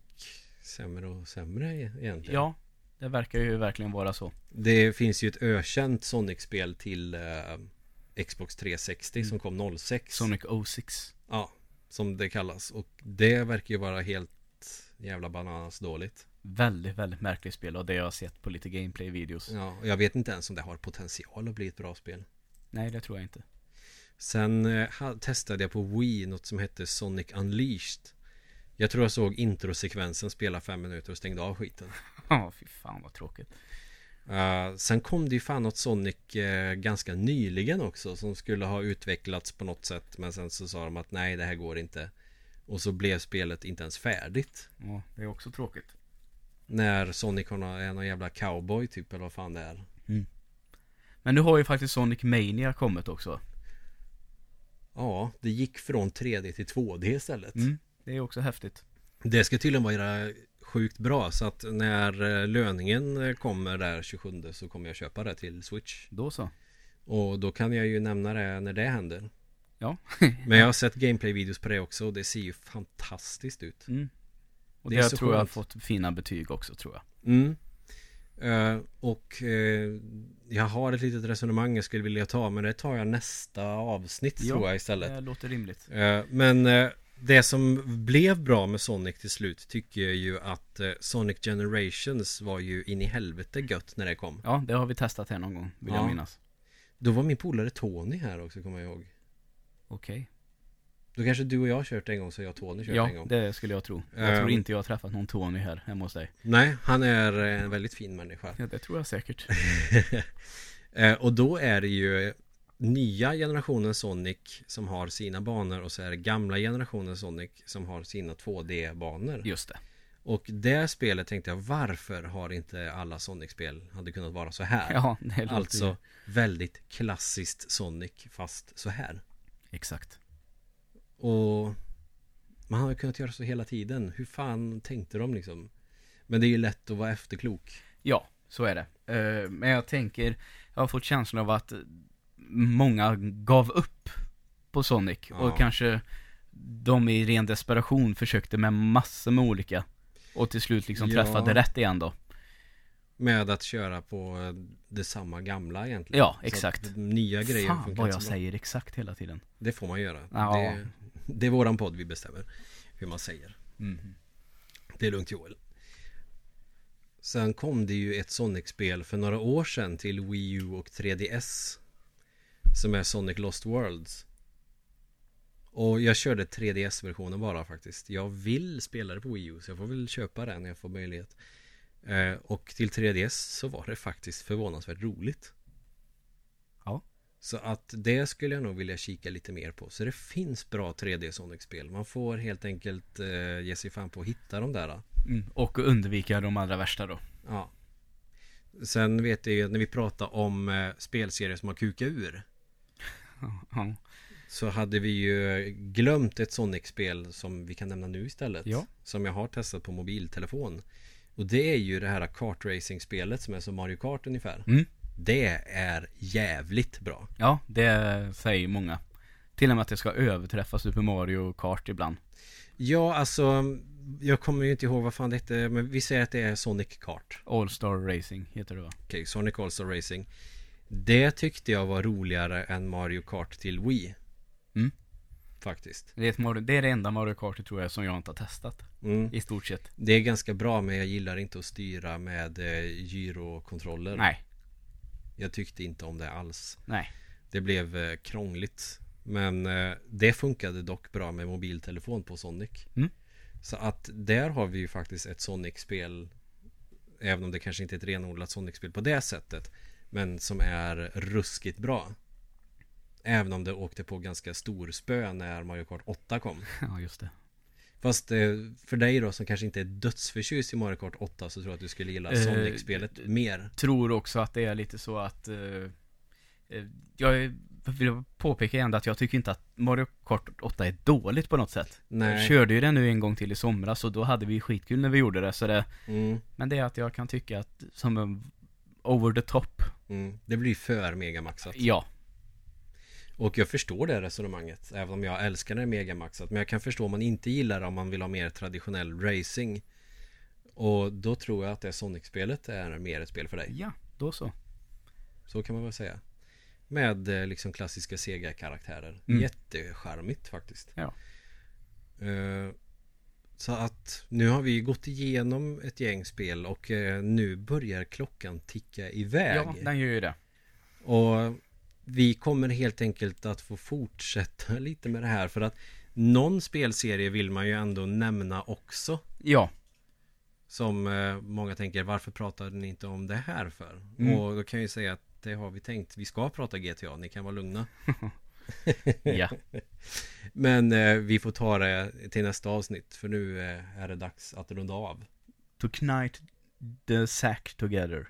sämre och sämre e- egentligen. Ja, det verkar ju verkligen vara så. Det finns ju ett ökänt Sonic-spel till eh, Xbox 360 som kom 06. Mm. Sonic 06. Ja, som det kallas. Och det verkar ju vara helt jävla bananas dåligt. Väldigt, väldigt märkligt spel och det jag har sett på lite gameplay-videos. Ja, och jag vet inte ens om det har potential att bli ett bra spel. Nej, det tror jag inte. Sen eh, ha- testade jag på Wii något som hette Sonic Unleashed. Jag tror jag såg introsekvensen spela fem minuter och stängde av skiten. Ja, fy fan vad tråkigt. Eh, sen kom det ju fan något Sonic eh, ganska nyligen också som skulle ha utvecklats på något sätt men sen så sa de att nej det här går inte. Och så blev spelet inte ens färdigt. Ja, det är också tråkigt. När Sonic har nå- är någon jävla cowboy typ eller vad fan det är. Men nu har ju faktiskt Sonic Mania kommit också. Ja, det gick från 3D till 2D istället. Mm. Det är också häftigt. Det ska tydligen vara sjukt bra så att när eh, löningen eh, kommer där 27 så kommer jag köpa det till Switch. Då så. Och då kan jag ju nämna det när det händer. Ja. Men jag har sett gameplay-videos på det också och det ser ju fantastiskt ut. Mm. Och Det det, är så tror jag har skönt. fått fina betyg också tror jag. Mm. Eh, och eh, jag har ett litet resonemang jag skulle vilja ta men det tar jag nästa avsnitt Ja, tror jag istället. Det låter rimligt. Eh, Men eh, det som blev bra med Sonic till slut tycker jag ju att eh, Sonic Generations var ju in i helvete gött när det kom. Ja, det har vi testat här någon gång, vill Ja. jag minnas. Då var min polare Tony här också kommer jag ihåg. Okej. Då kanske du och jag har kört en gång så jag och Tony kört en Ja, gång. det skulle jag tro. Jag Ehm. tror inte jag har träffat någon Tony här hemma hos dig. Nej, han är eh, en väldigt fin människa. Ja, det tror jag säkert. Eh, och då är det ju eh, nya generationen Sonic som har sina banor och så är det gamla generationen Sonic som har sina 2D-banor. Just det. Och det spelet tänkte jag varför har inte alla Sonic-spel hade kunnat vara så här? Ja, det låter ju- Alltså väldigt klassiskt Sonic fast så här. Exakt. Och man har ju kunnat göra så hela tiden. Hur fan tänkte de liksom? Men det är ju lätt att vara efterklok. Ja, så är det. Eh, Men jag tänker, jag har fått känslan av att många gav upp på Sonic Ja. och kanske de i ren desperation försökte med massor med olika och till slut liksom Ja. träffade rätt igen då. Med att köra på eh, det samma gamla egentligen. Ja, Så exakt. att Nya grejer Fan funkar vad inte jag så bra. säger exakt hela tiden. Det får man göra. Ja. Det, det är våran podd vi bestämmer hur man säger. Mhm. Mm. Det är lugnt Joel. Sen kom det ju ett Sonic-spel för några år sedan till Wii U och 3DS. Som är Sonic Lost Worlds. Och jag körde 3DS-versionen bara faktiskt. Jag vill spela det på Wii U så jag får väl köpa den när jag får möjlighet. Eh, och till 3DS så var det faktiskt förvånansvärt roligt. Ja. Så att det skulle jag nog vilja kika lite mer på. Så det finns bra 3D Sonic-spel. Man får helt enkelt eh, ge sig fan på att hitta de där. Då. Mm. Och undvika de allra värsta då. Ja. Sen vet jag ju att när vi pratade om eh, spelserier som har kukat ur Ja. så hade vi ju glömt ett Sonic-spel som vi kan nämna nu istället. Ja. Som jag har testat på mobiltelefon. Och det är ju det här kartracing-spelet som är som Mario Kart ungefär. Mm. Det är jävligt bra. ja, det säger många. Till och med att det ska överträffa Super Mario Kart ibland. Ja, alltså jag kommer ju inte ihåg vad fan det hette, men vi säger att det är Sonic Kart. All Star Racing heter det va? Okej, Sonic All-Star Racing. Det tyckte jag var roligare än Mario Kart till Wii. Mm. Faktiskt. Det är, ett Mario, det är det enda Mario Kart tror jag som jag inte har testat. Mm. I stort sett. Det är ganska bra men jag gillar inte att styra med eh, gyrokontroller. Nej, Jag tyckte inte om det alls. nej. Det blev eh, krångligt. Men eh, det funkade dock bra med mobiltelefon på Sonic. Mm. Så att där har vi ju faktiskt ett Sonic-spel. Även om det kanske inte är ett renodlat Sonic-spel på det sättet. Men som är ruskigt bra. Även om det åkte på ganska stor spö när Mario Kart 8 kom. Ja, just det. Fast eh, för dig då som kanske inte är dödsförtjust i Mario Kart 8 så tror jag att du skulle gilla Eh, Sonic-spelet mer. Tror också att det är lite så att... eh, eh, jag vill påpeka igen att jag tycker inte att Mario Kart 8 är dåligt på något sätt. Jag Nej. körde ju det nu en gång till i somras och då hade vi skitkul när vi gjorde det. Så det Mm, men det är att jag kan tycka att som en over the top. mm. Det blir för megamaxat. Ja, Och jag förstår det resonemanget. Även om jag älskar det megamaxat. Men jag kan förstå om man inte gillar det om man vill ha mer traditionell racing. Och då tror jag att det Sonic-spelet är mer ett spel för dig. ja, då så. Så kan man väl säga. Med eh, liksom klassiska Sega-karaktärer. Mm. Jättecharmigt faktiskt. Ja. Eh, Så att nu har vi gått igenom ett gäng spel och eh, nu börjar klockan ticka iväg. Ja, den gör ju det. Och vi kommer helt enkelt att få fortsätta lite med det här för att någon spelserie vill man ju ändå nämna också. Ja, Som eh, många tänker, varför pratade ni inte om det här för? Mm. Och då kan jag ju säga att det har vi tänkt. Vi ska prata GTA, ni kan vara lugna. ja. Men eh, vi får ta det till nästa avsnitt för nu eh, är det dags att runda av. To knight the sack together.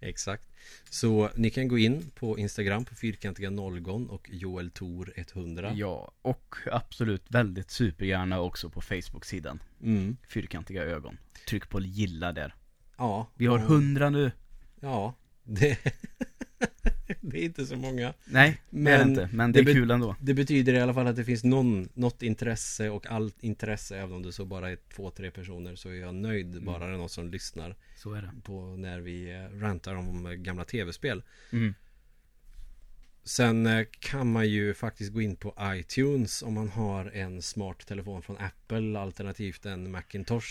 Exakt. Så ni kan gå in på Instagram på fyrkantiga nollgon och Joel Tor 100. Ja, och absolut väldigt supergärna också på Facebook-sidan. Mm. Fyrkantiga ögon. Tryck på gilla där. Ja. Vi har och- 100 nu. Ja. Det, det är inte så många. Nej, det är det Men inte. Men det är det bet- kul ändå. Det betyder i alla fall att det finns någon, något intresse och allt intresse även om det så bara är två, tre personer så är jag nöjd bara det är någon som lyssnar Så är det. på när vi eh, rantar om eh, gamla tv-spel. Mm. Sen eh, kan man ju faktiskt gå in på iTunes om man har en smart telefon från Apple alternativt en Macintosh.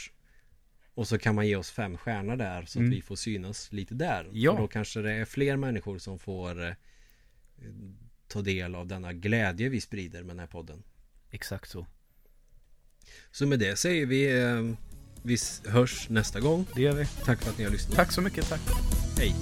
Och så kan man ge oss fem stjärnor där så att Mm. vi får synas lite där. Ja. För då kanske det är fler människor som får eh, ta del av denna glädje vi sprider med den här podden. Exakt så. Så med det säger vi eh, vi s- hörs nästa gång. Det gör vi. Tack för att ni har lyssnat. Tack så mycket, tack. Hej.